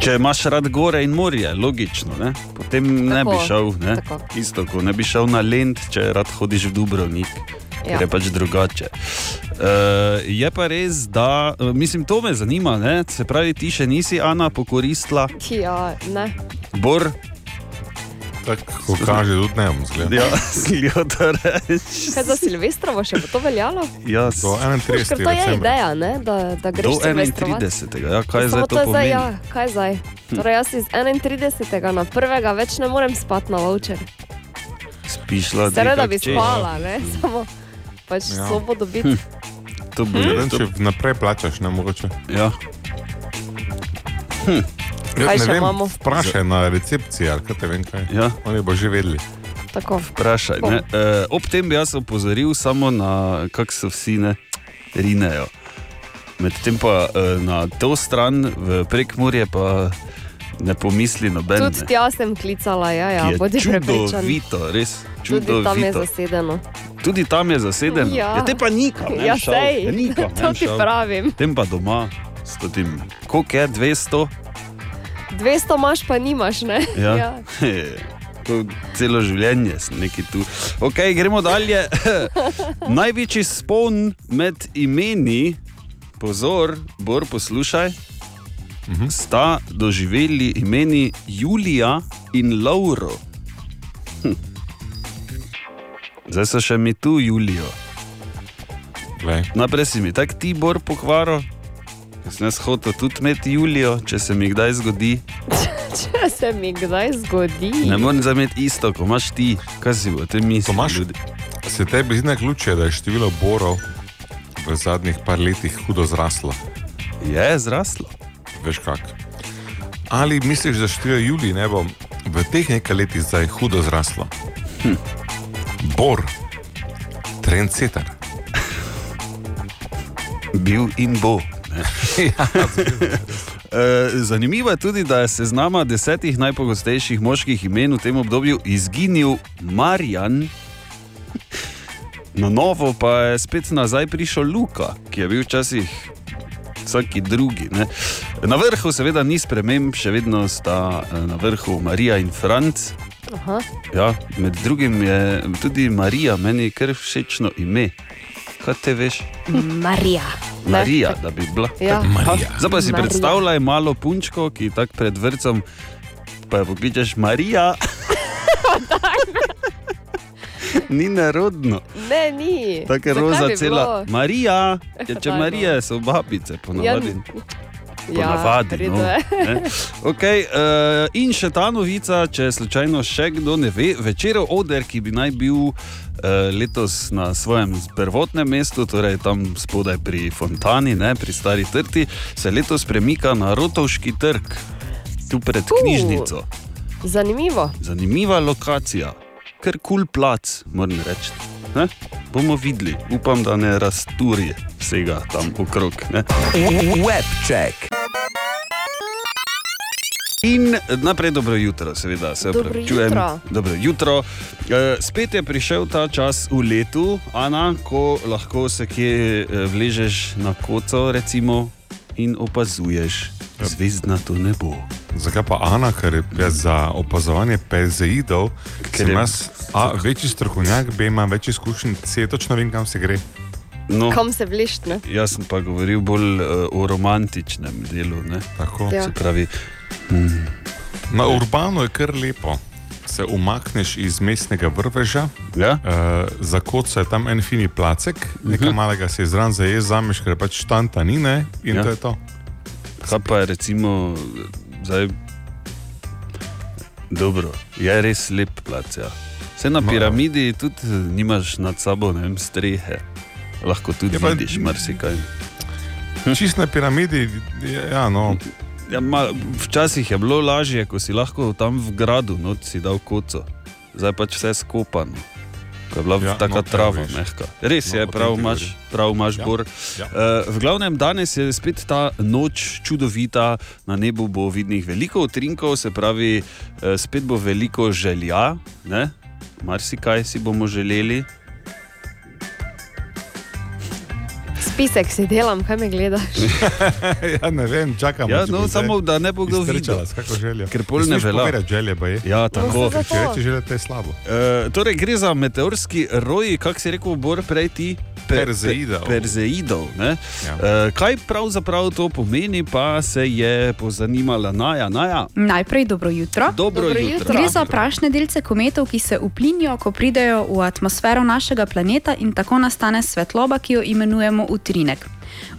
če imaš rad gore in morje, logično, ne? potem ne Tako, bi šel. Ne? tako. Isto, ko ne bi šel na Lend, če rad hodiš v Dubrovnik. Ja. Ker je pač drugače. Uh, je pa res, da, eh, mislim, to me zanima, ne? se pravi, ti še nisi, Ana, pokoristila, Ja, ne. Bor, Tako ko kaže, tudi ne bom zgleda. Ja, <laughs> slijo to reči. Kaj za Silvestrovo še bo to <laughs> veljalo? Ja, Do do, 31. Veš, ker to je decembra. ideja, ne, da, da greš do silvestrovat. 31. Ja, kaj zdaj Samo to je pomeni? Hm. Zdaj, ja, kaj zdaj? Torej, jaz iz 31. na 1. več ne morem spati na voucher. Spiš la Seveda bi spala, ne, Hm. samo pač Ja. ja. sobo dobiti. To bo Razen, hm? Če naprej plačaš, ne mogoče. ja. Hm. Kaj ne še vem, imamo? Vprašaj na recepciji, ali kaj te vem kaj. Ja. Oni bo že vedeli. Tako. Vprašaj. Ne? E, ob tem bi jaz opozoril samo na kako se vsi ne rinejo. Medtem pa e, na to stran, v prekmurje, pa ne pomisli noben. Tudi ne, tja sem klicala, ja, ja, ki je bodi prepričan. čudovito, res čudovito. Tudi tam je zasedeno. Tudi tam je zasedeno. Ja. Ja, te pa nikam. ne, Ja, šel, sej, Nikam, <laughs> ne, to ti šel. pravim. Tem pa doma, s tem, koliko je 200, 200 imaš, pa nimaš, ne? <laughs> Ja. To celo življenje sem neki tu. Ok, gremo dalje. <laughs> Največji spon med imeni, pozor, Bor, poslušaj, sta doživeli imeni Julija in Lauro. Hm. Zdaj so še mi tu, Julijo. Glej. Najprej si mi tak ti bor pokvaro, ker sem jaz hotel tudi imeti Julijo, če se mi kdaj zgodi. <laughs> Če se mi kdaj zgodi, Ne morem zameti isto, ko imaš ti, kaj si bo, te misliš. Tomaž? Se tebi zdi na ključe, da je število borov v zadnjih par letih hudo zraslo? Je zraslo. Veš kak? Ali misliš, da število Julij ne bo v teh nekaj letih zdaj hudo zraslo? Hm. Bor, trendsetter. Bil in bo. <laughs> Ja, E, Zanimivo je tudi, da je se z nama desetih najpogostejših moških imen v tem obdobju izginil Marjan, na novo pa je spet nazaj prišel Luka, ki je bil včasih vsaki drugi. Ne. Na vrhu, seveda, ni sprememb, še vedno sta eh, na vrhu Marija in Franc. Aha. Ja, med drugim je tudi Marija, meni je kar všečno ime. Kaj te veš? Marija. Ne? Marija, da bi bila. Ja. Marija. Zdaj pa si Marija. predstavljaj malo punčko, ki tako pred vrcem, pa jo pokličeš <laughs> Marija. Ni narodno, Ne, ni. tako je Zakaj roza bi cela. bilo? <laughs> Marija, ja, če daj, no. Marije so babice, Ja, ponavadi. Ja, Ponavadi, pridu, no. eh. Ne? okay, uh, in še ta novica, če slučajno še kdo ne ve, večerov oder, ki bi naj bil uh, letos na svojem prvotnem mestu, torej tam spodaj pri Fontani, ne, pri Stari Trti, se letos premika na Rotovški trg, tu pred Uh. knjižnico. Zanimivo. Zanimiva lokacija, ker kul cool plac, moram reči. Ne? Bomo videli, upam, da ne rasturi vsega tam okrog. Ne? Webcheck. In najprej dobro jutro, seveda, se Dobro upravičujem. jutro. Dobro jutro. E, spet je prišel ta čas v letu, Ana, ko lahko se kje e, vležeš na koco recimo, in opazuješ zvezdnato nebo. Zakaj pa Ana, ker je jaz za opazovanje pezeidov, Ker ker je- sem jaz a, večji strokovnjak, B, imam več izkušenj, C, točno vem, kam se gre. No, Kam se bližne? jaz sem pa govoril bolj e, o romantičnem delu, ne? eh, Tako. Ja. se pravi, Na urbano je kar lepo. se umakneš iz mestnega vrveža, Ja? Mhm. Uh, Zakoca je tam en fini placek, nekaj malega se izran zaje, zameš, ker pač štanta ni, ne? in Ja. ja. to je to. Kaj pa je recimo zdaj. Dobro, je res lep plac. Ja. Se na piramidi tudi eh, nimaš nad sabo ne vem, strehe. Lahko tudi Ja, pa- vidiš marsikaj. Čist na piramidi, je- ja, no, Ja, ma, včasih je bilo lažje, ko si lahko tam v gradu noč si dal koco, zdaj pač vse skopano. Ko Je bila ja, Ja, no, taka no, prav trava, veš. mehka. Res No, je, o tem prav ti imaš, prav imaš ja. Ja, bor. ja. Uh, v glavnem, danes je spet ta noč čudovita, na nebu bo vidnih veliko utrinkov, se pravi, uh, spet bo veliko želja, ne? marsikaj si bomo želeli. Spisek si delam, kaj me gledaš? <laughs> ja, ne vem, čakam. Ja, no, samo da ne bo kdo videl. Iztrčala, s kako željo. Ker pol Ne ne smeš velja. povedati želje, pa je. Ja, tako. saj Če reče želje, to je slabo. E, torej gre za meteorski roj, kako si rekel, Bor, prej ti Perzeidov. Perzeidov ja. e, kaj pravzaprav to pomeni, pa se je pozanimala Naja. Naja Najprej dobro jutro. dobro, Dobro dobro jutro. jutro. Gre za prašne delce kometov, ki se uplinijo, ko pridejo v atmosfero našega planeta in tako nastane svetloba, ki jo imenujemo utrinek.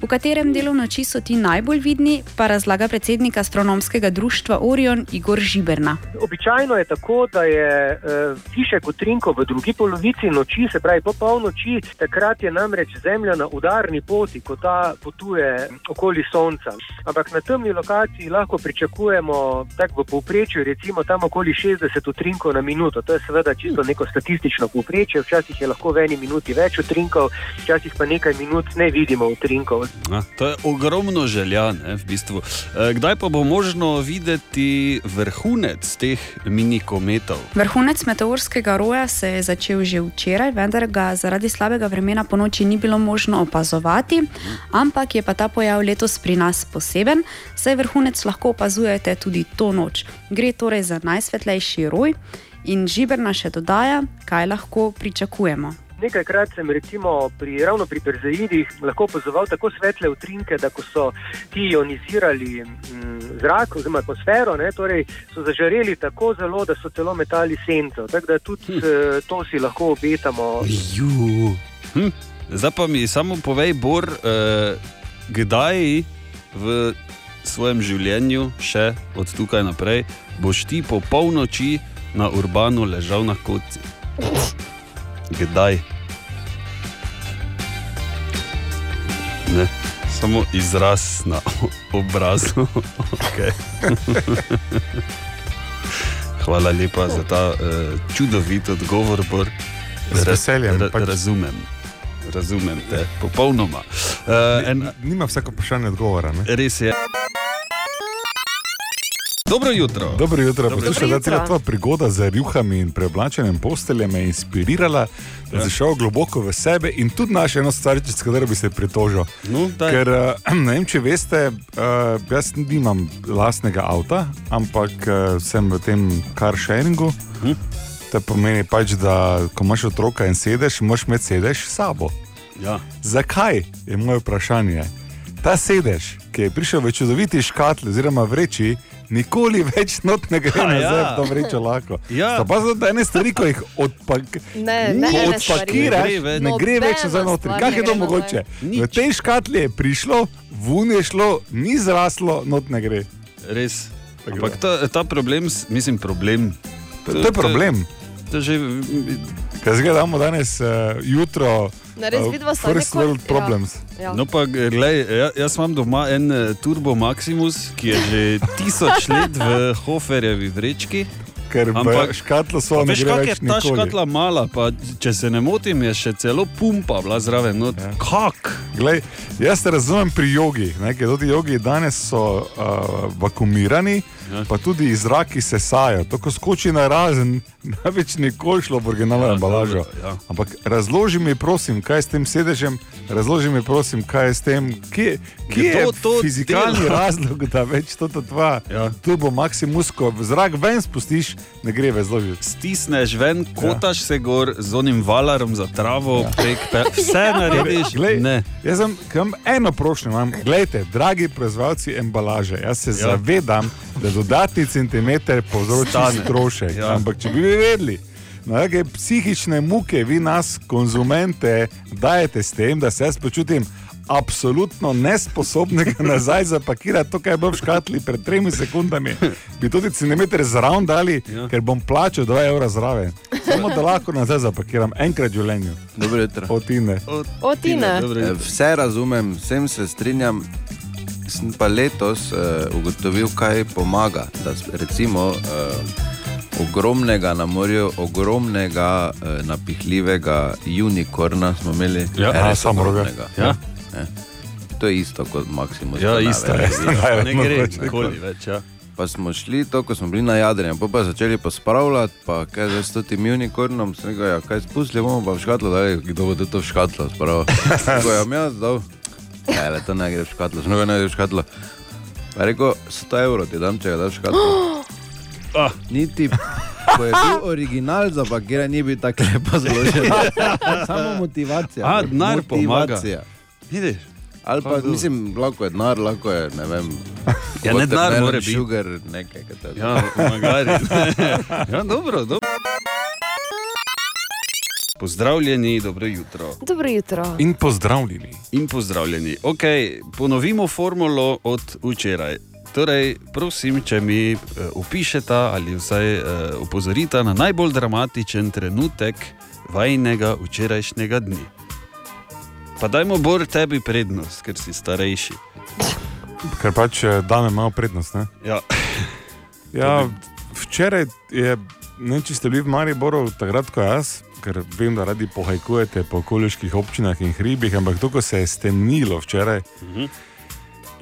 V katerem delu noči so ti najbolj vidni, pa razlaga predsednik astronomskega društva Orion Igor Žiberna. Običajno je tako, da je eh, višek utrinkov v drugi polovici noči, se pravi po polnoči, takrat je namreč Zemlja na udarni poti, ko ta potuje okoli Sonca. Ampak na temni lokaciji lahko pričakujemo tako v povprečju, recimo tam okoli 60 utrinkov na minuto. To je seveda čisto neko statistično povprečje, včasih je lahko v eni minuti več utrinkov, včasih pa nekaj minut ne vidimo utrinkov. A, to je ogromno želja, ne, v bistvu. E, kdaj pa bo možno videti vrhunec teh mini kometov? Vrhunec meteorskega roja se je začel že včeraj, vendar ga zaradi slabega vremena po noči ni bilo možno opazovati, ampak je pa ta pojav letos pri nas poseben, saj vrhunec lahko opazujete tudi to noč. Gre torej za najsvetlejši roj in Žiberna še dodaja, kaj lahko pričakujemo. Nekajkrat sem recimo pri, ravno pri Perzeidih lahko opazoval tako svetle utrinke, da ko so ti ionizirali m, zrak oziroma atmosfero, ne, torej so zažareli tako zelo, da so celo metali senco. Tako da tudi eh, to si lahko obetamo. Ju. Hm. Zdaj pa mi samo povej, Bor, eh, kdaj v svojem življenju, še od tukaj naprej, boš ti po polnoči na urbanu ležal na koci? Kdaj? Ne. Samo izraz na <laughs> obrazu. <laughs> Okay. Hvala lepa za ta eh, čudovit odgovor, Bor. Z Ra- veseljem, ra- pač. Razumem, razumem te, popolnoma. Uh, en, Nima vsako vprašanje odgovora. Ne? res je. Dobro jutro. Dobro jutro, Dobro poslušaj, da jutro. cela tvoja prigoda z rjuhami in preoblačenjem postelje me je inspirirala, da Ja. sem šel globoko v sebe in tudi našel eno stvar, s katero bi se pritožil. No, daj. Ker, eh, <clears throat> ne vem, če veste, eh, jaz nimam lastnega avta, ampak eh, sem v tem car sharingu. Hm. To pomeni pač, da ko imaš otroka in sedeš, moraš imeti sedež s sabo. Ja. Zakaj je moje vprašanje? Ta sedež, ki je prišel v čudoviti škatli, oziroma vreči, nikoli več not ne gre A nazaj ja. ja. v to vrečo lahko. Ja. Sta Pa zato, da ene stvari, ko jih odpak, Ne, ne, ko ene odpakiraš, stvari. Ne gre več. ne gre več Nobena za notri. stvar Kaj ne je to gre mogoče? nazaj. V tej škatli je prišlo, vun je šlo, ni zraslo, not ne gre. Res. Tako Ampak da. ta, ta problem, s- mislim, problem. To, to je problem. To je že, Kaj se gledamo danes uh, jutro? Ne, res eh, vidva sta First neko- world ja. problems. Ja. <laughs> no pa, glej, ja- jaz imam doma en eh, Turbo Maximus, ki je <laughs> že tisoč let v Hoferjevi vrečki. Ker Ampak- Ampak, škatlo so ne Veš, gre kako je več ta nikoli. škatla mala, pa če se ne motim, je še celo pumpa bila zraven. No, ja. Kak? Glej, jaz te razumem pri jogi, ne, ker tudi jogi danes so uh, vakumirani, ja. pa tudi zraki se sajo. To, ko skoči na razen, <laughs> ne več nikoli šlo v originalno Ja, ja, embalažo. dobro, ja. Ampak razloži mi, prosim, kaj je s tem sedežem, razloži mi, prosim, kaj je s tem, kje, kje je Kdo to fizikalni dela? razlog, da več to tva, Ja. ja. tu bo maksimusko v zrak ven spustiš, ne gre več zložiti. Stisneš ven, Ja. kotaš se gor z onim valarom za travo, ja. prek, pe, <laughs> <laughs> vse narediš. Glej, Ne. jaz sem kam eno prošnjo. Imam. Glejte, dragi proizvajalci embalaže, jaz se ja. zavedam, da dodatni centimeter povzroči Stane. strošek. Ja. Ja. Ampak če bi vi vedeli, na kakšne psihične muke vi nas, konzumente, dajete s tem, da se jaz počutim. Absolutno nesposobnega nazaj zapakirati to, kar je bilo v škatli pred tremi sekundami. Bi tudi centimeter zraven dali, Ja. ja. ker bom plačal 2 evra zraven. Samo da lahko nazaj zapakiram, enkrat v življenju, Dobro jutro. potine. O, ti ne. Dobro, Eh, Vse razumem, vsem se strinjam. Sem pa letos uh, ugotovil, kaj pomaga. Da, s- recimo, uh, ogromnega na morju, ogromnega uh, napihljivega unikorna smo imeli, Ja, res a, samo roga. ogromnega. Ja. Ne. To je isto kot Ja, Maximus. Kanaveral. isto je. Ja, <laughs> Ne gre mogoče. nikoli več. Ja. Pa smo šli to, ko smo bili na Jadrem, pa pa začeli pospravljati, pa kaj zdaj s tem unikornom, sem rekel, ja, kaj spustili bomo pa v škatlo, da kdo bo to v škatlo spravil. <laughs> Tako ja, je, jaz dal, ne, le, to ne gre v škatlo, snega ne gre v škatlo. Pa je rekel, 100 evrov ti dam, če ga daš v škatlo. Ah. Niti, ko je bil original zapakiran, ni bil tako lepo <laughs> zložen. <laughs> Samo motivacija. A, Ah, denar pomaga. Motivacija. Vidiš? Ali pa, Pardon. mislim, lahko je denar, lahko je, ne vem. Ja, ne denar watermelon mora biti. Sugar, nekaj, kaj tako. Ja, <laughs> magari. <laughs> ja, dobro, dobro. Pozdravljeni, dobro jutro. Dobro jutro. In pozdravljeni. In pozdravljeni. Okay, ponovimo formulo od včeraj. Torej, prosim, če mi eh, opišete ali vsaj eh, opozorite na najbolj dramatičen trenutek vajnega včerajšnjega dne. Pa dajmo bolj tebi prednost, ker si starejši. Ker pač eh, dame imajo prednost. Ne? Ja, <laughs> Ja, včeraj je, ne, če ste bili v Mariboru, takrat ko jaz, ker vem, da radi pohajkujete po okoliških občinah in hribih, ampak to, ko se je stemnilo včeraj.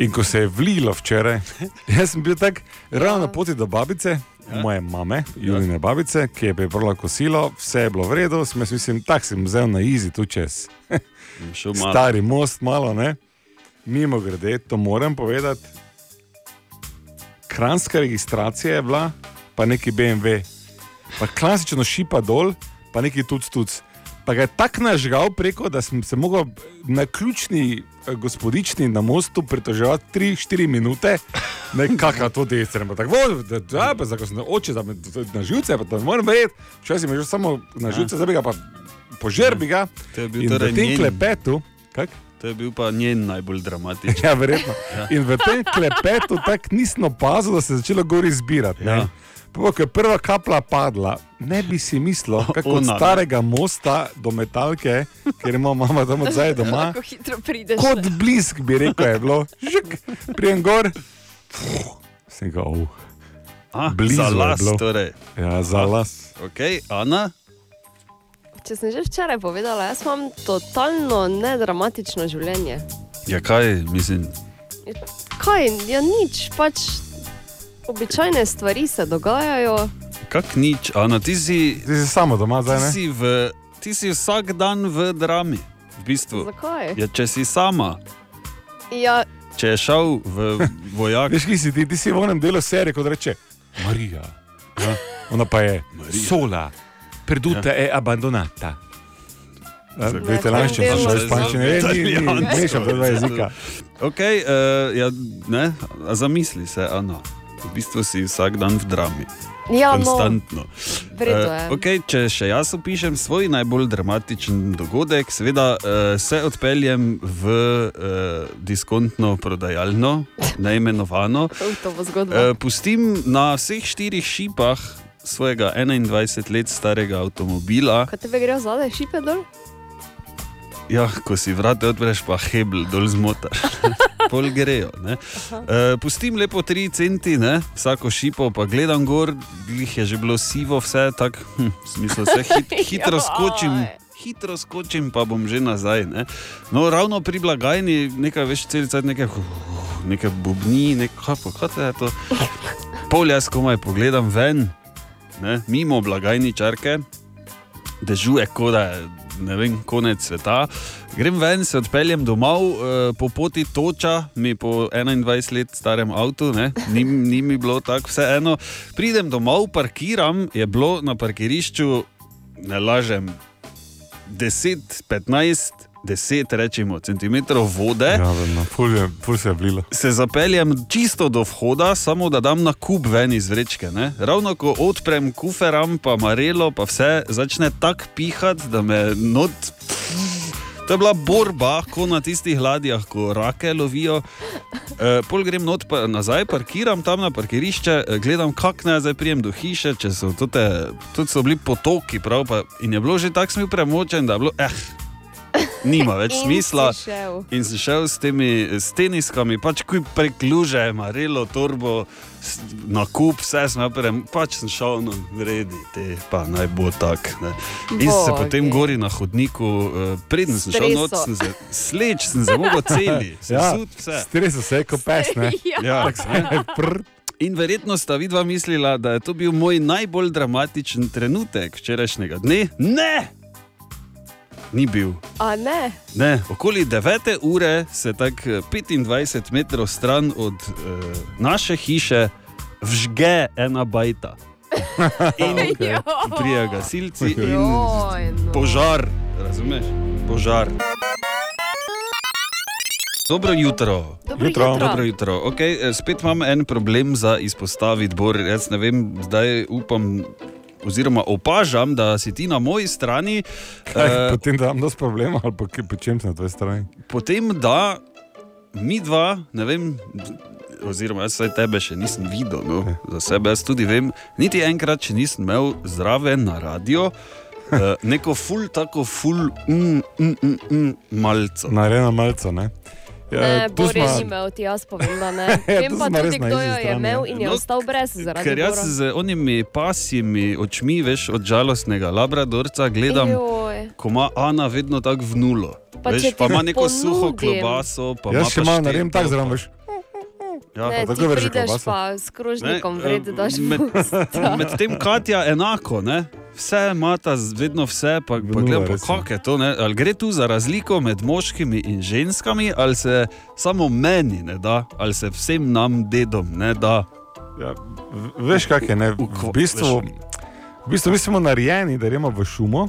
In ko se je vlilo včeraj, <laughs> jaz sem bil tako ravno na poti do babice, ja. moje mame, Julijne babice, ki je pripravila kosilo, vse je bilo v redu, sem jaz mislim, tak sem vzel na izi tu čez. bom šel malo. Stari most, malo ne. Mimo grede, to moram povedati. Kranska registracija je bila, pa neki BMW, pa klasično šipa dol, pa neki tuc tuc. Pa ga je tako nažgal preko, da sem se mogel na ključni eh, gospodični na mostu pritoževati 3-4 minute, ne kakšna to dejstva. Tako "Vo, da, da, pa zakaj sem oče, da me da- da na živce, pa da ne morem verjeti, včasih me že samo na živce, zdaj bi ga pa požer bi ga. To je bil In torej v tem njen- klepetu, kak? To je bil pa njen najbolj dramatičen. <laughs> ja, verjetno. In v tem klepetu tako nisem opazil, da se je začelo gori zbirati. Ja. Ja. Ko je prva kaplja padla, ne bi si <laughs> mislil, kako od Ona, ne. starega mosta do metalke, ker ima mama tam od zadaj <laughs> doma, Kako hitro prideš. kot blisk bi rekel, je bilo, žik, <laughs> <laughs> prijem gor. Fuh, Sem ga ov, Ah, Blizu za je las, bilo. torej. ja, za las. Okay, Ana, Če sem že včeraj povedala, jaz imam totalno nedramatično življenje. ja, kaj mislim? Kaj, ja nič, pač običajne stvari se dogajajo. Kak nič, Ana, ti si, Ti si samo doma, zdaj ti ne? si, v, ti si vsak dan v drami, v bistvu. Zakaj? Ja, če si sama, Ja, če je šel <laughs> v vojak, Veš, ki si ti, ti si v onem delu serije, kot reče Marija. Ja? Ona pa je sola, preduta ja. e abandonata. Ja, v italijanščini, Ne, v španščini, ne, ne, ne, ne, mešam ta dva jezika. okay, uh, ja, ne, a zamisli se, Ana. V bistvu si vsak dan v drami, ja no, konstantno. vredno Eh, je. okay, če še jaz opišem svoj najbolj dramatičen dogodek, seveda uh, se odpeljem v uh, diskontno prodajalno, neimenovano, To bo zgodba. Eh, pustim na vseh štirih šipah svojega 21 let starega avtomobila. Kaj tebe gre zadaj, šipe dol? Ja, ko si vrate odpreš, pa hebl dol zmotaš. Pol grejo. ne. Eh, pustim lepo 3 centi, ne? vsako šipo, pa gledam gor, glih je že bilo sivo, vse tako, hm, v smislu se hit, hitro skočim. Joj. Hitro skočim, pa bom že nazaj. Ne? No, ravno pri blagajni, nekaj več celice, nekaj, nekaj bubni, nekaj, pa kaj te je to. Pol jaz komaj pogledam ven, ne? mimo blagajničarke, dežuje, kot da je ne vem, konec sveta. Grem ven, se odpeljem domov, eh, po poti toča, mi po 21 let starem avtu, ne, ni, ni mi bilo tako vseeno. Pridem domov, parkiram, je bilo na parkirišču, ne lažem, 10, 15, 10 rečemo, centimetrov vode. Ja, vedno, ful, je, ful se je vlilo. se zapeljem čisto do vhoda, samo da dam na kup ven iz vrečke. Ne? Ravno ko odprem kuferam, pa marelo, pa vse, začne tako pihati, da me not. To je bila borba, ko na tistih ladjah, ko rake lovijo. E, pol grem not pa nazaj, parkiram tam na parkirišče, e, gledam, kak naj zdaj prijem do hiše, če so tudi, tudi so bili potoki, prav, pa, in je bilo že tako smil premočen, da je bilo, eh, nima več In si smisla. šel. In sem šel s temi s teniskami, pač kuj prek luže, marelo, torbo, s- na kup, vse sem naprem, pač sem šel na redi, te pa naj bo tak. Ne. In sem se Bogi. potem gori na hodniku, eh, preden sem šel Streso. not, sem se, sleč sem se mogel celi, sem ja. sud vse. stresel se je kot pes. <laughs> Ne? <laughs> Ja. In verjetno sta vidva mislila, da je to bil moj najbolj dramatičen trenutek včerajšnjega dne. Ne! Ni bil. A <laughs> ne, Ne, okoli 9. ure se tako eh, 25 metrov stran od e, naše hiše vžge ena <laughs> bajta. In prijajo Ja, gasilci in joj, no. požar, razumeš? Požar. Dobro jutro. Dobro Jutro. jutro. Dobro jutro. Okay, eh, spet imam en problem za izpostaviti, Bor. Jaz ne vem, zdaj upam, oziroma opažam, da si ti na moji strani. eh, Kaj, potem dam dosti problemov, ali pa kaj- po čem si na tvoji strani. potem da mi dva, ne vem, oziroma jaz vsaj tebe še nisem videl, no, za sebe jaz tudi vem, niti enkrat še nisem imel zraven na radio. eh, Neko ful, tako ful, mm, mm, mm, mm, malce. Narejena malca, ne? Ja, Ne, tu Bor je sva- ni imel, ti jaz povem, da <laughs> ne. Ja, Vem tu pa smo res tudi, na kdo isti jo je strani, imel ja. in je No, ostal brez zaradi Ker jaz Bora. z ja, onimi pasjimi očmi, veš, od žalostnega labradorca gledam, Joj. ko ima Ana vedno tako vnulo. Pa če veš, ti pa ima neko ponudim. suho klobaso, pa Jaz ima še pa malo naredim štirko, tako pa- zraven, veš. Ja, Ne, pa ti tako vrže prideš klobaso. pa s krožnikom Ne, vred, eh, daš med- mu. <laughs> Medtem Katja enako, ne? vse imata, z- vedno vse, pa, pa Nula, gledaj, recimo. kako je to. ne. Ali gre tu za razliko med moškimi in ženskami, ali se samo meni ne da, ali se vsem nam dedom ne da. Ja, v- veš, kak je. Ne? Ukvo- V bistvu, v bistvu mi smo narejeni, da gremo v šumo,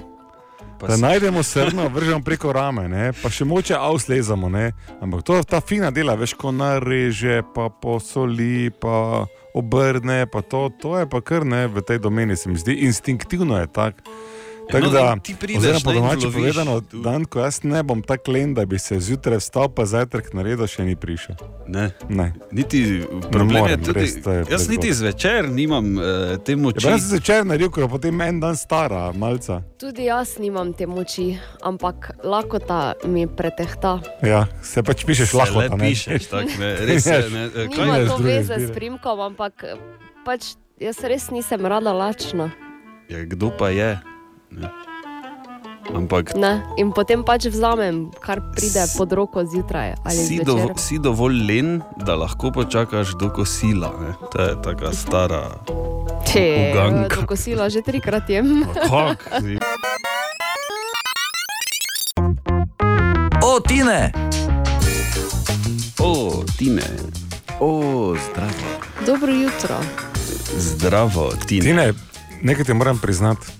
Pa da se- najdemo srno, vržemo preko rame, ne? pa še moče avs lezamo. Ne? Ampak to ta fina dela, veš, ko nareže, pa posoli, pa obrne, pa to, to je pa kar ne v tej domeni, se mi zdi, instinktivno je tako. Tako No, da, in ti prideš, oziroma po ne, in domače loviš povedano, tu. dan, ko jaz ne bom tako len, da bi se zjutraj vstal, pa zajtrk naredil, še ni prišel. Ne. Ne. <laughs> Niti, problem je morem, tudi, res, to je jaz prezgodaj. niti zvečer nimam eh, te moči. Ja, jaz sem začel naredil, ker je potem en dan stara, malca. Tudi jaz nimam te moči, ampak lakota mi pretehta. Ja, se pač pišeš Se lahko, Ja. le pišeš, tako, ne, res je. <laughs> Ne, eh, kaj Nima E, je z to druge veze s izbire? primkom, ampak eh, pač jaz res nisem rada lačna. Ja, kdo pa je? Ne. Ampak Ne? In potem pač vzamem, kar pride S- pod roko zjutraj ali si, dovo, zvečer. si dovolj len, da lahko počakaš do kosila. Ne? To je tako stara. Če eh, Uganka. to kosilo že trikrat jem. Kak, si- O, Tine! o, Tine, O, zdravo. <laughs> Dobro jutro. zdravo, Tine. Ti ne, nekaj ti moram priznati. Ne,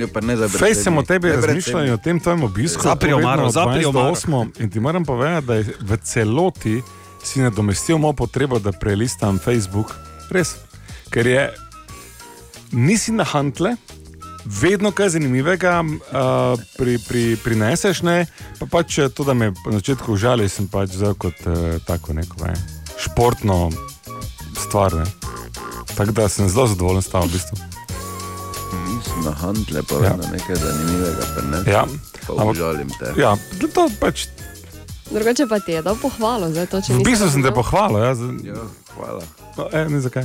Ja, pa ne za Fej sem o tebi Ne pred razmišljal in o tem tvojem obisku. Zapri To vedno omaro, od zapri 12 do omaro. 8 In ti moram povedati, da je v celoti si nadomestil mojo potrebo, da prelistam Facebook. Res. Ker je, nisi na hantle, vedno kaj zanimivega uh, pri, pri, prineseš. Ne? Pa pač eh, to, da me na začetku užali, sem pač vzel kot uh, tako neko ne? športno stvar. Ne? Tako da sem zelo zadovoljen s tam v bistvu. Nisem na hantle, pa vedno nekaj zanimivega, pa ne. Ja. Pa Ampak- obžalim te. Ja, to pač Drugače pa ti je dal pohvalo za to, če V nisi bistvu <laughs> sem te razumel. pohvalil, ja, z... Ja, hvala. no, e, ne zakaj.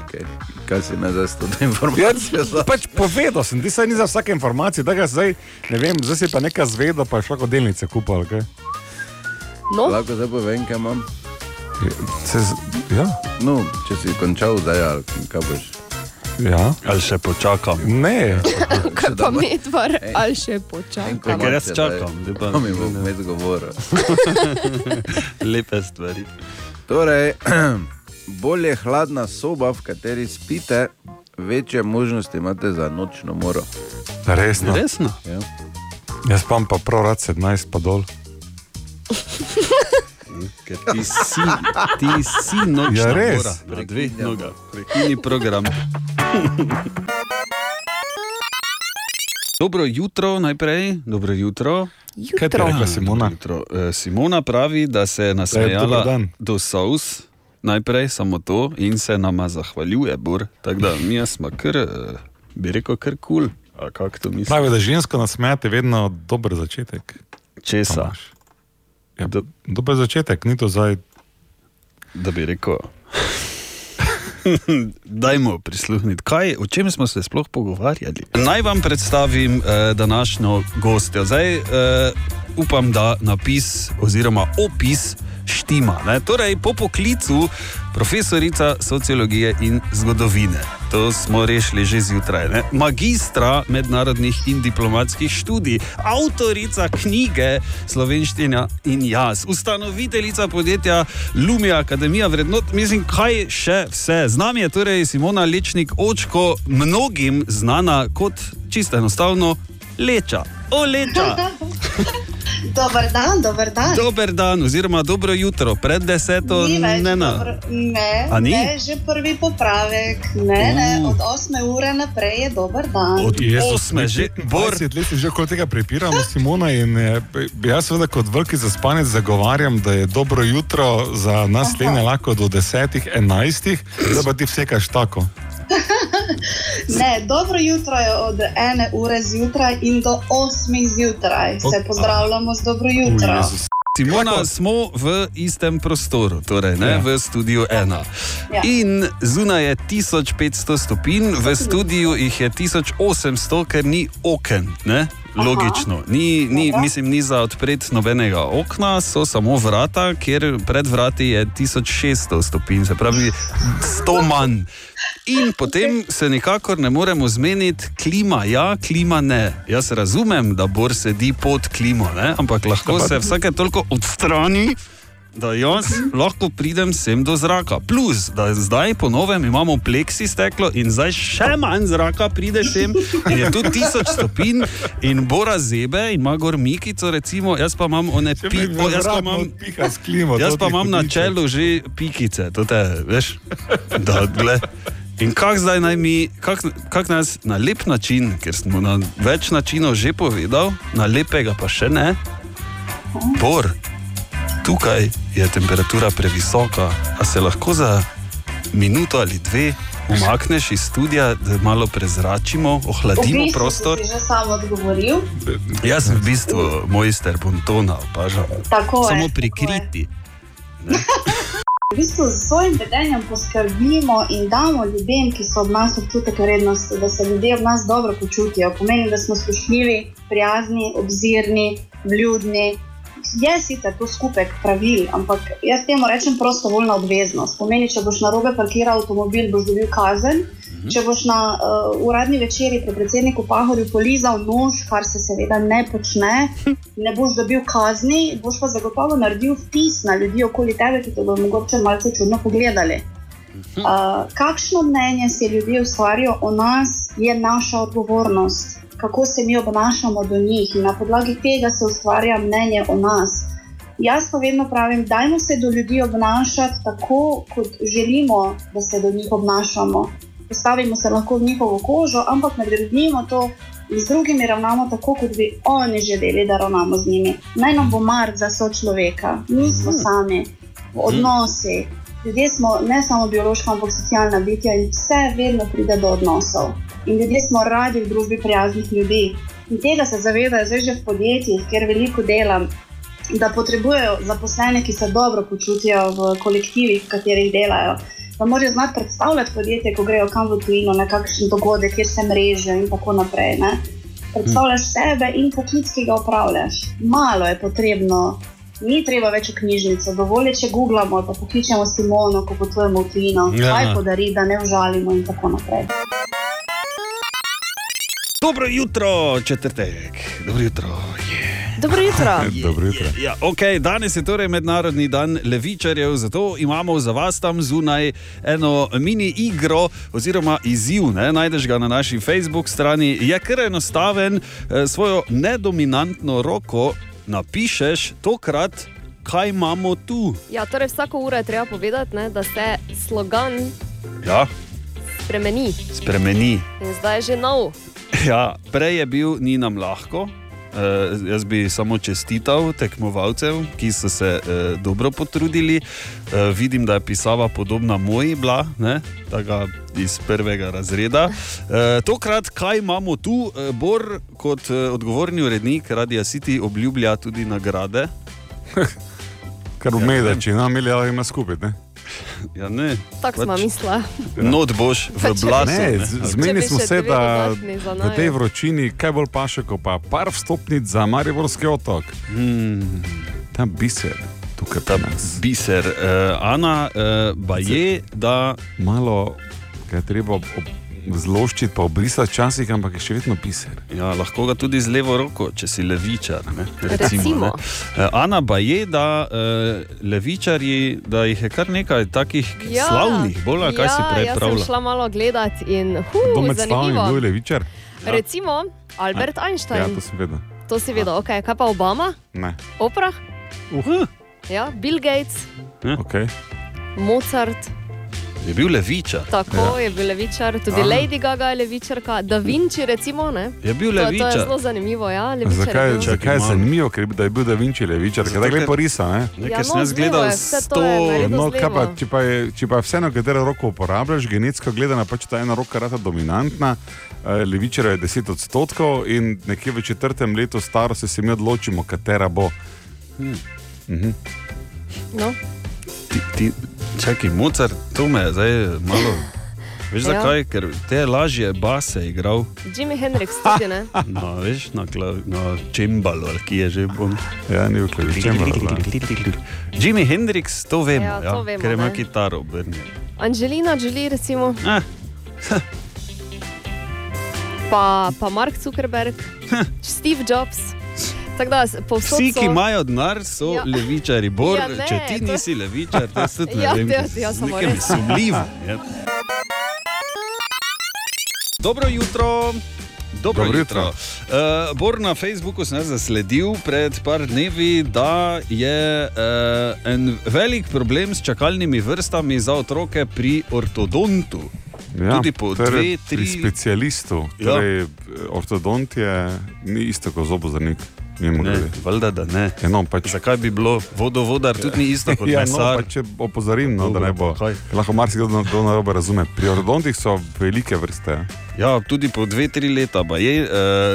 Okay. Kaj si ne zdaj s to informacijo? za- Pač povedal sem, ti se ni za vsake informacije, da ga zdaj ne vem, zdaj si pa nekaj zvedel, pa je šlo kot delnice kupal. Kaj? No, Lahko zdaj povem, kaj imam. Se, z- ja. No, če si končal zdaj, ali ja, kaj boš. Ja. ali še počakam. Ne, Kaj pa dobro. medvar, ali še počakam. Ker jaz čakam, da To mi bo med govoril. <laughs> lepe stvari. Torej, <clears throat> bolj je hladna soba, v kateri spite, večje možnosti imate za nočno moro. resno. Resno. Ja. Jaz spam pa prav rad 17 pa dol. Ker ti si, ti si noč Ja, res. na dveh nogah, prekini program. Dobro jutro, najprej. Dobro jutro. Kaj ti je rekla Simona? E, Jutro. Eh, Simona pravi, da se je dober nasmejala dan. do solz, najprej samo to, in se nama zahvaljuje, Bor. Tako da mi smo kar, eh, bi rekel, kar kul. Cool. A kako to misliš? Pravi, da žensko nasmejate je vedno dober začetek. Česa? Ja, Do- dober začetek, ni to zdaj. da bi rekel. <laughs> Dajmo prisluhniti, kaj, o čem smo se sploh pogovarjali. Naj vam predstavim eh, današnjo gostjo. Zdaj, eh, upam, da napis oziroma opis štima. Ne? Torej, po poklicu profesorica sociologije in zgodovine. To smo rešili že zjutraj. Ne? Magistra mednarodnih in diplomatskih študij, avtorica knjige Slovenština in jaz, ustanoviteljica podjetja Lumija Akademija vrednot, mislim, kaj še vse. Z nami je torej Simona Lečnik Očko, mnogim znana kot čisto enostavno Leča. O, Leča! <laughs> Dober dan, dober dan. Dober dan, oziroma dobro jutro, pred deseto, Ni več ne na. dobro- ne, A ni? Mm. ne, že prvi popravek. Ne, ne, od 8 ure naprej je dober dan. Od osme, že bor. 20 let si že kot tega prepiramo, Simona. In, eh, jaz, seveda, kot veliki zaspanec, zagovarjam, da je dobro jutro za nas lene lahko do 10, 11, da pa ti vsekaš tako. Ne, dobro jutro je od 1 ure zjutraj in do 8 zjutraj. Se pozdravljamo z dobro jutro. Simona, smo v istem prostoru, torej ne, v studiu ena. Ja. In zunaj je 1500 stopinj, v studiu jih je 1800, ker ni oken. Ne? Logično, ni, ni, mislim, ni za odpreti nobenega okna, so samo vrata, kjer pred vrati je 1600 stopinj, se pravi 100 manj. In potem se nikakor ne moremo zmeniti, klima ja, klima ne. Jaz razumem, da Bor sedi pod klimo, ne? ampak lahko se vsake toliko odstrani da jaz lahko pridem sem do zraka. Plus, da zdaj po novem imamo pleksi steklo in zdaj še manj zraka pride sem. in Je tu tisoč stopinj in bora zebe, ima gor Mikico, recimo, jaz pa imam one pipo, jaz pa imam. piha s klimo. Jaz to pa ti imam na hudiče. čelu že pikice, to te veš. Da, gle. In kako zdaj naj mi, kako kak nas na lep način, ker smo na več načinov že povedal, na lepega pa še ne, bor, tukaj je temperatura previsoka, a se lahko za minuto ali dve umakneš iz studia, da malo prezračimo, V ohladimo bistvu prostor. si že sam odgovoril. Jaz sem v bistvu mojster bontona, opažam. Tako Samo je, tako prikriti. V bistvu s svojim vedenjem poskrbimo in damo ljudem, ki so ob nas občutek rednosti, da se ljudje ob nas dobro počutijo. Pomeni, da smo spoštljivi, prijazni, obzirni, vljudni. Je sicer to skupek pravil, ampak jaz temu rečem prostovoljna obveznost. Pomeni, če boš na robe parkiral avtomobil, boš dobil kazen. Če boš na uh, uradni večerji pri predsedniku Pahorju polizal nož, kar se seveda ne počne, ne boš dobil kazni, boš pa zagotovo naredil vtis na ljudi okoli tebe, ki te bodo mogoče malce čudno pogledali. Uh, kakšno mnenje si ljudje ustvarijo o nas, je naša odgovornost, kako se mi obnašamo do njih in na podlagi tega se ustvarja mnenje o nas. Jaz pa vedno pravim, dajmo se do ljudi obnašati tako, kot želimo, da se do njih obnašamo. Postavimo se lahko v njihovo kožo, ampak nagradimo to in z drugimi ravnamo tako, kot bi oni želeli, da ravnamo z njimi. Naj nam bo mar za sočloveka, nismo sami, odnosi. Ljudje smo ne samo biološka, ampak socialna bitja in vse vedno pride do odnosov. In ljudje smo radi v družbi prijaznih ljudi. In tega se zavedajo zdaj že v podjetjih, kjer veliko delam, da potrebujejo zaposlene, ki se dobro počutijo v kolektivih, v katerih delajo. Da morajo znati predstavljati podjetje, ko grejo kam v tujino, na kakšen dogodek, kjer se mrežijo in tako naprej. Ne? Predstavljaš sebe in poklic, ki ga upravljaš. Malo je potrebno, ni treba več v knjižnico, dovolj je, če googlamo ali pa pokličemo Simono, ko potujemo v tujino, Ja. kaj podari, da ne užalimo in tako naprej. Dobro jutro, četrtek. Dobro jutro. Dobro jutro. <laughs> Dobro jutro. Ja, okay, danes je torej mednarodni dan levičarjev, zato imamo za vas tam zunaj eno mini igro oziroma izziv. Ne? Najdeš ga na naši Facebook strani. Je kar enostaven, eh, svojo nedominantno roko napišeš tokrat, kaj imamo tu. Ja, torej vsako uro je treba povedati, ne, da se slogan Ja, spremeni spremeni. in zdaj je že <laughs> nov. Ja, prej je bil ni nam lahko. Uh, jaz bi samo čestital tekmovalcem, ki so se uh, dobro potrudili. Uh, vidim, da je pisava podobna moji, bila, ne, tako iz prvega razreda. Uh, tokrat, kaj imamo tu, uh, Bor, kot uh, odgovorni urednik Radia City, obljublja tudi <laughs> nagrade. Ker v medači, no, milijon ima skupaj. Ne? Ja, ne, Tako smo Pač- mislila. not boš v Pač- blasu. Ja. Ne, ne. z- zmenili Če bi smo še se, dve da dodatni za v naju. tej vročini kaj bolj paše, kot pa par vstopnic za Mariborski otok. Hmm. Tam biser, tukaj Ta tam nas. biser, uh, Ana, uh, pa je, da Malo ga je treba ob- ob- zloščiti, pa obrisati včasih, ampak je še vedno biser. Ja, lahko ga tudi z levo roko, če si levičar. Ne? Recimo. ne. Eh, Ana pa je, da uh, levičarji, da jih je kar nekaj takih ja. slavnih, bolj ali kaj ja, si prej Jaz pravila. sem šla malo gledat in Kdo huh, med slavnimi, kdo zanimivo. je levičar? Recimo Albert Ja, Einstein, to sem vedel. to si vedel, okay. kaj pa Obama, Ne, Oprah, Uh, ja, Bill Gates, ok. Mozart, Eh? je bil levičar. tako ja. je bil levičar, tudi Aha. Aha. Lady Gaga je levičarka, Da Vinci recimo, ne? Je bil To, to je levičar. zelo zanimivo, ja, levičar. je Zakaj, bil. zakaj je Čakaj malo. zanimivo, ker je- da je bil Da Vinci levičar, ker je Zato, tako ker- lepo risa. Ne? Ne, Ja, ker sem no, jaz zlevo gledal je, vse to je 100. naredil. No, kaj pa, zleva. če, pa je, če pa je vseeno, katero roko uporabljaš, genetsko gledano, pač ta ena roka rata dominantna, eh, levičarja je 10 odstotkov in nekje v četrtem letu starosti se mi odločimo, katera bo. Hm. Mhm. No. Ti, ti, čakaj, Mozart, to me je zdaj malo. Veš Ja. zakaj? Ker te lažje base igral Jimi Hendrix tudi ne. na, No, veš, na, kla- na čembalu, ali ki je že bom. Ja, ni vključen, če Jimi Hendrix, to vemo, ja, Ja, to to ja, vemo, ker ima ne. kitaro obrnjeno. Angelina Jolie recimo, Ah, pa, pa Mark Zuckerberg, Steve Jobs. Tako da, s- povsod Vsi, so- ki imajo denar, so ja. Ja. levičari. Bor, ja, Ja, ne, ne, če ti to- nisi levičar, to se tudi ne <laughs> Ja, vem. to- ker ja, si samo nekaj res. sumljivo. Ja. Dobro jutro. Dobro Dobro Dobro jutro. jutro. Uh, Bor na Facebooku sem jaz zasledil pred par dnevi, da je uh, en velik problem s čakalnimi vrstami za otroke pri ortodontu. Ja, Tudi po torej dve, tri- Pri specialistu, Ja. torej eh, ortodont je ni isto kot zobozdravnik. Ne, valjda, da ne. Ja, no, pač, Zakaj bi bilo vodovodar tudi ni isto kot <laughs> ja, no, mesar? pa če opozorim, no, da Dobro, ne bo. kaj? Lahko marsikdo na- to narobe razume. Pri ortodontih so velike vrste. Ja, tudi po dve, tri leta. pa Je, uh,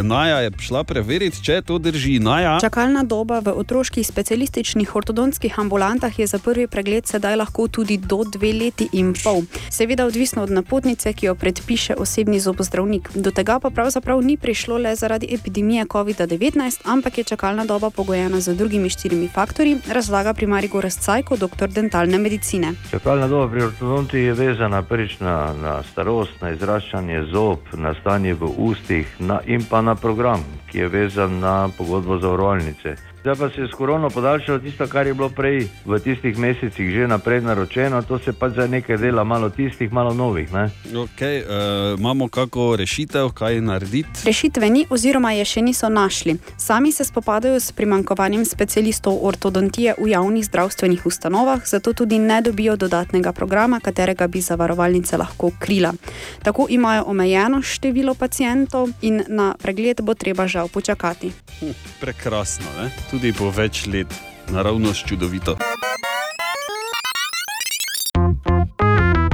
Naja je šla preveriti, če to drži. Naja, Čakalna doba v otroških specialističnih ortodontskih ambulantah je za prvi pregled sedaj lahko tudi do dve leti in pol. Seveda odvisno od napotnice, ki jo predpiše osebni zobozdravnik. Do tega pa pravzaprav ni prišlo le zaradi epidemije COVID-19, ampak je čakalna doba pogojena z drugimi štirimi faktorji, razlaga primari Gorast Cajko, doktor dentalne medicine. Čakalna doba pri ortodontu je vezana prvič na, na starost, na izraščanje zob, na stanje v ustih na, in pa na program, ki je vezan na pogodbo zavarovalnice. Zdaj pa se je s korono podaljšalo tisto, kar je bilo prej v tistih mesecih že naprej naročeno, to se pač za nekaj dela, malo tistih, malo novih. Ne? okay, uh, imamo kako rešitev, kaj narediti. Rešitve ni oziroma je še niso našli. Sami se spopadajo s primankovanjem specialistov ortodontije v javnih zdravstvenih ustanovah, zato tudi ne dobijo dodatnega programa, katerega bi zavarovalnica lahko krila. Tako imajo omejeno število pacijentov in na pregled bo treba žal počakati. Hm, Prekrasno, ne? tudi po več let, naravnost čudovito.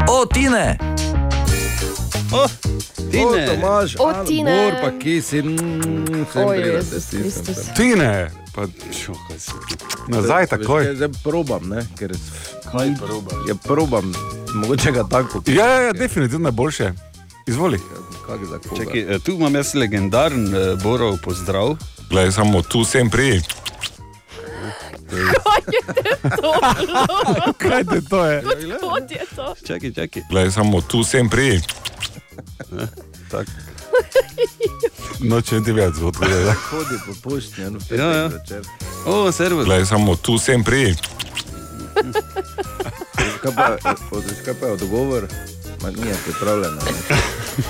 O, Tine! Oh, O, Tine, Tomaž, O, Al, Tine. Bor, pa ki si, mm, sem Oj, prijel, da Jezus si Kristus. Ti ne, pa Čo, kaj si ti? nazaj takoj. Zdaj probam, ne, ker Kaj proba? je ja, probam, mogoče ga tako. Ja, ja, ja definitivno je boljše. Izvoli. Kako za koga? Čakaj, eh, tu imam jaz legendaren eh, Borov pozdrav. Glej, samo tu sem pri. <laughs> Kaj je to? Je? Kot je <laughs> to? Čakaj, čakaj. Glej, samo tu sem pri. Tak. Nočem No, ti več zvoditi. <laughs> Hodi po pošti, eno Ja, ja. O, servis. Glej, samo tu sem <laughs> prej. Kaj pa, eh, kaj pa je odgovor? Ma ni je pripravljena. ne.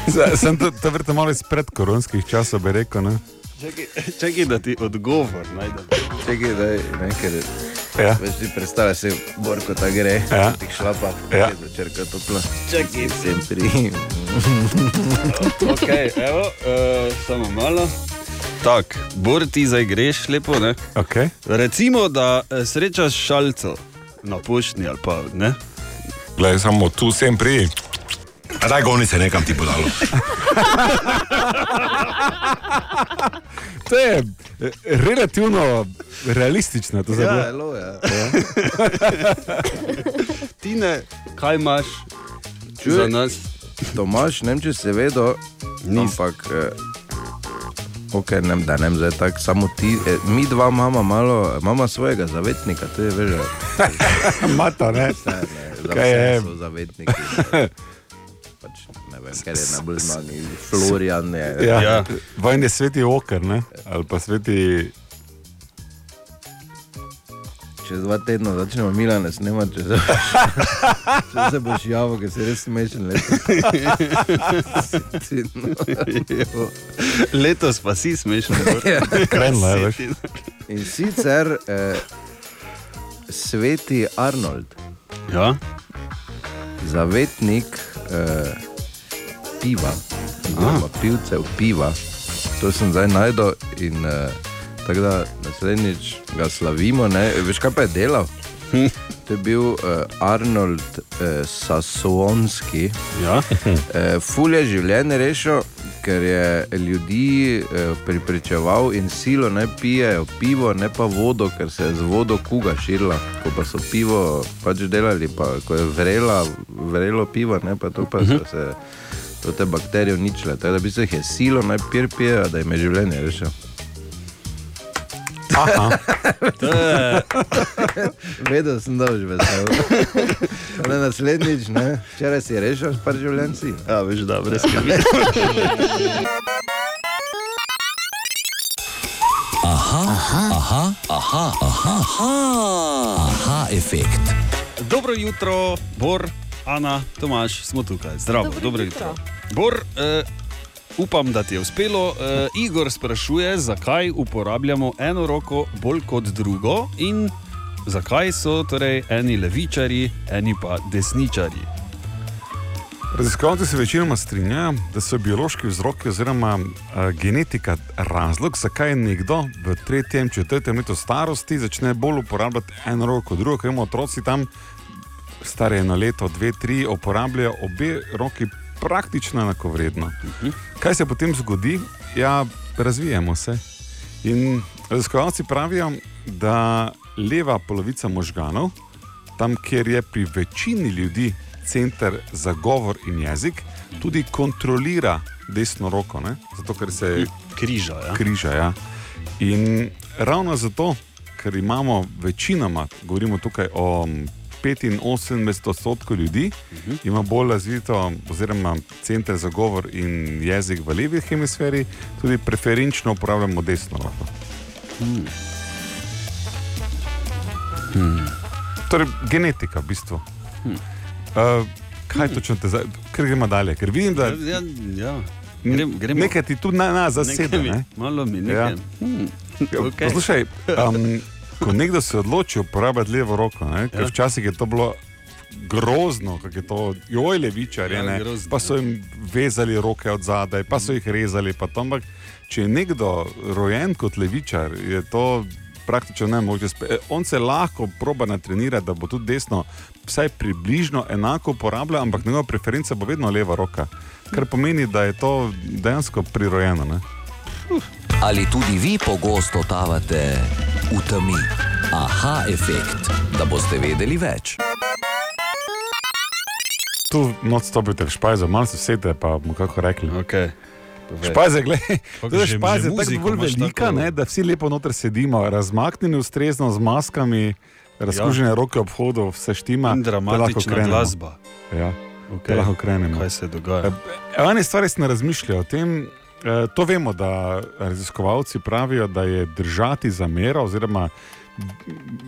Zdaj, Sem to, to verjetno malo iz predkoronskih časov bi rekel, ne? Čakaj, čakaj, da ti odgovor najdem. Čekaj, da je nekaj. Ja. Veš ti predstavlja se, Borko, ta gre, Ja. ti šlapa, Ja. začerka topla. Čakaj. Sem pri. Ok, evo, uh, samo malo. Tako, bor ti zdaj greš lepo, ne? Okay. Recimo, da eh, srečaš šalco na pošti ali pa ne. Glej, samo tu sem prej. A daj govni se nekam ti podalo. To je eh, relativno realistično. To Ja, zadeva. hello, ja. Ti ne, kaj imaš Čuj. za nas? Tomaš, ne vem, če se vedo, ampak. Eh, Ok, ne, da ne, zdaj tako, samo ti, eh, mi dva imamo malo, imamo svojega zavetnika, to je veš. že. Mata, ne? Vse, ne, za Kaj je? vse so zavetniki. <laughs> Pač, ne vem, ker je najbolj znani, Florian je. Ja. Ja. Vojne sveti okr, ne? Ali pa sveti... Čez dva tedna začnemo Milane snemati, če <laughs> se, če se boš javil, ker si res smešen. <laughs> Jo. <laughs> Letos pa si smešen. <laughs> Bor. Krenla je, veš. Si ti- Ja. In sicer eh, sveti Arnold, Ja, zavetnik eh, piva, oziroma pivcev piva. To sem zdaj najdel in eh, tako da naslednjič ga slavimo. Ne? E, Veš, kaj pa je delal? To je bil eh, Arnold eh, Sasonski. ja. Eh, ful je življenje rešil, ker je ljudi eh, pripričeval in silo ne pijejo pivo, ne pa vodo, ker se je z vodo kuga širila. Ko pa so pivo pač delali, pa ko je vrela, vrelo pivo, ne pa to pa so se. To te bakterije uničile, tako da bi se jih je silo najprej pijal, da jim je življenje rešil. <laughs> To je, Vedel sem, da že vesel. Ne naslednjič, ne? včeraj si je rešil, Eh, pa življenje si. ja, veš, da brez <laughs> skrbi. Aha, aha, aha, aha, aha efekt. Dobro jutro, Bor, Ana, Tomaš, smo tukaj. Zdravo, dobro, dobro jutro. jutro. Bor, eh, upam, da ti je uspelo. Eh, Igor sprašuje, zakaj uporabljamo eno roko bolj kot drugo in zakaj so torej eni levičari, eni pa desničari. Raziskovalci se večinoma strinjajo, da so biološki vzroki oziroma uh, genetika razlog, zakaj nekdo v tretjem, četrtem letu starosti začne bolj uporabljati eno roko kot drugo, ker imamo otroci tam stare eno leto, dve, tri, uporabljajo obe roki praktično enakovredno. Kaj se potem zgodi? Ja, razvijamo se. In raziskovalci pravijo, da leva polovica možganov, tam kjer je pri večini ljudi center za govor in jezik, tudi kontrolira desno roko, ne? zato ker se Križa. Ja? križa. Ja. In ravno zato, ker imamo večinoma, govorimo tukaj o 85 odstotkov ljudi, Mhm. ima bolj razvito, oziroma center za govor in jezik v levi hemisferi, tudi preferenčno uporabljamo desno roko. Hmm. Hmm. Hmm. Torej, genetika, v bistvu. Uh, kaj Hmm. točno te zdaj, ker gremo dalje, ker vidim, da Ja, ja. Grem, gremo. nekaj ti tu na nas zasede. Nekaj mi- Ne? Malo mi nekaj. Ja. Ja. Hmm. Okay. Okay. Poslušaj, um, ko nekdo se odloči uporabljati levo roko, ne, ker Ja. včasih je to bilo grozno, kako je to, joj, levičar je. Ja, ne, grozno, Pa so jim vezali roke od zadaj, pa so jih rezali. pa to, Ampak če je nekdo rojen kot levičar, je to. Praktično ne moče. On se lahko proba natrenirati, da bo tudi desno, vsaj približno enako uporabljal, ampak njegova preferenca bo vedno leva roka. Kar pomeni, da je to dejansko prirojeno. Ne? Ali tudi vi pogosto totavate v temi? Aha efekt, da boste vedeli več. Tu noč stopite v špajzo, malo se sedete, pa mu kako rekli. Okay. Špaze, gledaj, Kako to je že- že špaze, tako muziko bolj imaš velika, tako? ne, da vsi lepo noter sedimo, razmaknjeni ustrezno z maskami, razkužene ja. roke ob hodu, vse štima. In da lahko dramatična krenemo. glasba. Ja, da Okay. lahko krenemo. Kaj se dogaja? E, Ene stvari se ne razmišlja o tem, Eh, To vemo, da raziskovalci pravijo, da je držati zamero, oziroma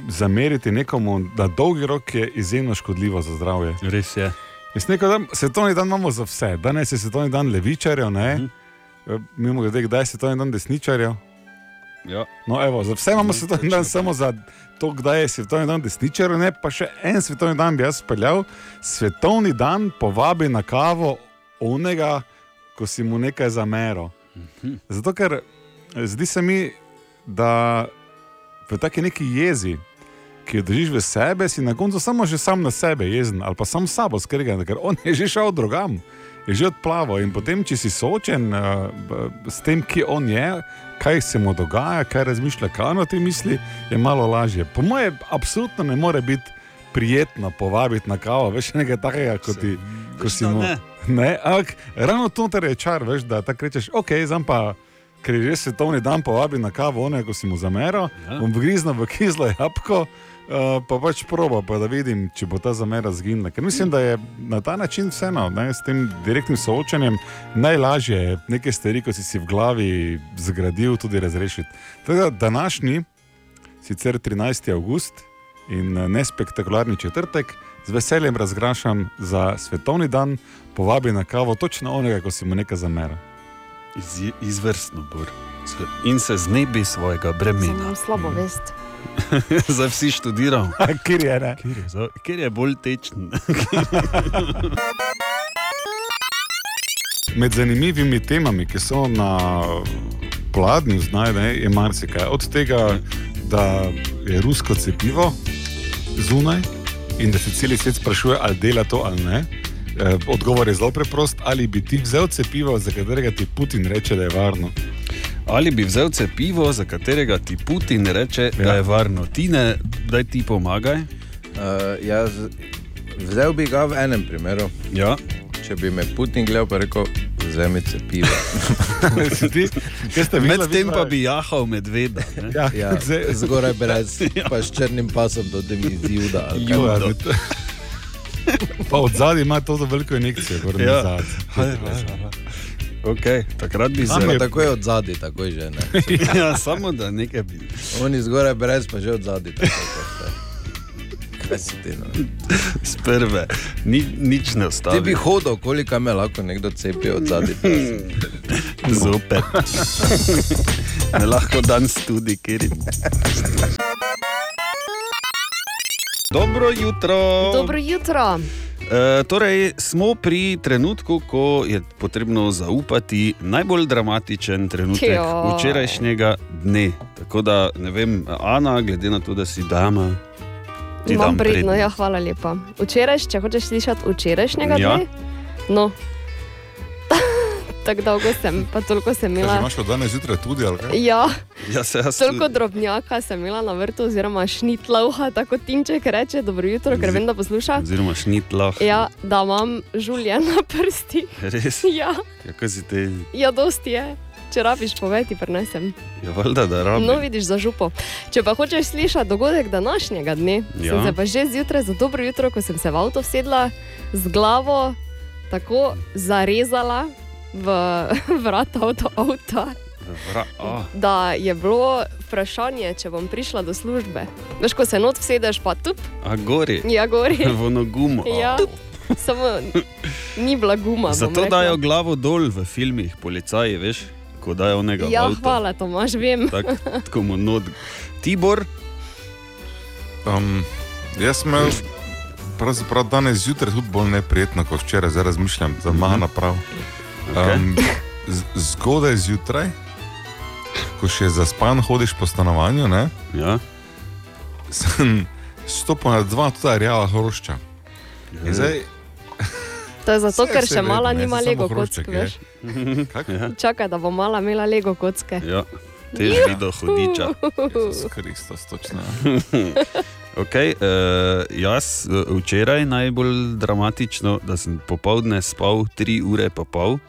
zameriti nekomu na dolgi rok je izjemno škodljivo za zdravje. Res je. Jaz nekaj dan, svetovni dan imamo za vse. Danes je svetovni dan levičarjev, Mhm. ne? Eh, mimo grede, kdaj je svetovni dan desničarjev. Ja. No, evo, za vse imamo svetovni dan, samo za to, kdaj je svetovni dan desničarjev, ne pa še en svetovni dan bi jaz speljal. Svetovni dan povabi na kavo onega, ko si mu nekaj zamero. Zato, ker eh, zdi se mi, da v taki neki jezi, ki jo držiš v sebi, si na koncu samo že sam na sebe jezen ali pa sam s sabo skrgan, ker on je že šel drugam, je že odplaval. In potem, če si soočen uh, b- s tem, ki on je, kaj se mu dogaja, kaj razmišlja, kaj on o tem misli, je malo lažje. Po mojem, absolutno ne more biti prijetno povabiti na kavo, veš nekaj takega, kot ti, ko si da mu. ne. Ne, ampak ravno to ter je čar, veš, da tako rečeš, ok, zdaj pa. Ker je že svetovni dan, povabi na kavo, one, ko si mu zamero, ja. bom vgriznil v kislo jabko, uh, pa pač proba, pa da vidim, če bo ta zamera zginila. Ker mislim, da je na ta način vseeno, ne, s tem direktnim soočanjem najlažje neke stvari, ko si si v glavi zgradil, tudi razrešiti. Tako da današnji, sicer 13. august in eh, nespektakularni četrtek, z veseljem razgrašam za svetovni dan, povabi na kavo točno onega, ko si mu nekaj zamera. Iz, izvrstno, Bor. S- In se znebi svojega bremena. <laughs> Imam slabo vest. Zdaj vsi <laughs> študiramo. Kjer je ne? Kjer je, za- kjer je bolj tečen. <laughs> Med zanimivimi temami, ki so na vladni znaj, ne, je marsikaj. Od tega, da je rusko cepivo zunaj in da se celi svet sprašuje, ali dela to ali ne. Eh, Odgovor je zelo preprost, ali bi ti vzel cepivo, za katerega ti Putin reče, da je varno. Ali bi vzel cepivo, za katerega ti Putin reče, ja. da je varno. Ti ne, daj ti pomagaj. Uh, jaz vzel bi ga v enem primeru. Ja. Če bi me Putin gledal, pa rekel, vzemi <laughs> cepivo. Medtem pa bi jahal medveda. ne? ja, zgoraj <laughs> brez, ja. pa s črnim pasom do tega juda. ali kaj. Juda. <laughs> Pa od zadaj ima to za veliko injekcijo, kot Ja. ja. Okay, takrat bi Ampak se takoj od zadaj, takoj že ne. <laughs> ja, samo da nekaj bi. Oni zgoraj brez, pa že od zadaj. Kaj si ti? No? <laughs> Sprve, Ni, nič ne ostane. Ti bi hodil, koliko me lahko nekdo cepi od zadaj. <laughs> <laughs> Zopet. Ne lahko danes tudi, kjer je. Dobro jutro. Dobro jutro. E, torej, smo pri trenutku, ko je potrebno zaupati najbolj dramatičen trenutek Joj. včerajšnjega dne. Tako da, ne vem, Ana, glede na to, da si dama, ti Imam dam pridno, prednost. ja, hvala lepa. Včerajš, če hočeš slišati včerajšnjega Ja. dne, no. <laughs> Tako dolgo sem, pa toliko sem imela. od danes zjutraj tudi? Ja, Ja, se jaz toliko drobnjaka sem imela na vrtu, oziroma šnitlavha, tako Timček reče, dobro jutro, ker vem, da posluša. Oziroma, šnitlah. Ja, da imam žulje na prstih. Res? <laughs> Ja, Ja, kaj si ti, ja, dosti je. Če rabiš, povej ti, prenesem. ja, valjda, da rabi. No, vidiš za župo. Če pa hočeš slišati dogodek današnjega dne, ja. Ja. sem se pa že zjutraj za dobro jutro, ko sem se v avto sedla z glavo tako zarezala v <laughs> vrata od avta, Vra, oh. da je bilo vprašanje, če bom prišla do službe. Veš, ko se not vsedeš, pa tu, A gori. ja, gori. <laughs> V nogumo. Ja, samo ni bila guma. bom Zato rekla. dajo glavo dol v filmih, policaji, veš, ko dajo onega. v Ja, avto. hvala, Tomaž, vem. Tako, <laughs> tako mu not. Tibor, <laughs> Um, jaz sem imel pravzaprav danes zjutraj tudi bolj neprijetno kot včeraj, zdaj razmišljam, za Mhm. manj naprav. Um, z- zgodaj zjutraj, ko še zaspan hodiš po stanovanju, ne, ja. sem stopil na dva tudi rjava hrošča. Ja. In zdaj, To je zato, Saj ker se še vedno, mala ne, nima saj samo lego hrušček, kock, veš. je. Kako? Čakaj, da bo mala imela lego kocke. Ja, tež Juhu. videl hudiča. S Kristus, točno. Okay, uh, jaz uh, včeraj najbolj dramatično, da sem popoldne spal 3 ure pa pol,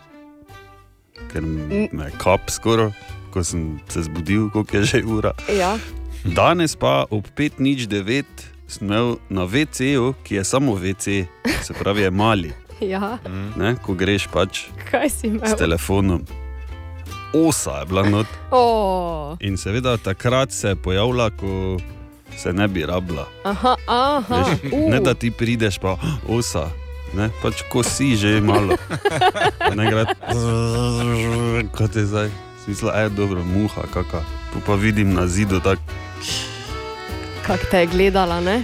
ker m- me je kap skoro, ko sem se zbudil, koliko je že ura. <laughs> Ja. Danes pa ob 5.09 sem imel na VC-ju, ki je samo VC, se pravi je mali, Ja, ne, ko greš pač kaj si imel? s telefonom. osa je bila not. Oh. In seveda takrat se je pojavila, ko se ne bi rabila. Aha, aha. Veš, Uh. ne da ti prideš, pa "Ah, osa. Ne, pač ko si že malo. Ne gre, kot je zdaj. Smisla, je dobro, muha, kaka. Po pa vidim na zidu, tak, Kak te je gledala, ne?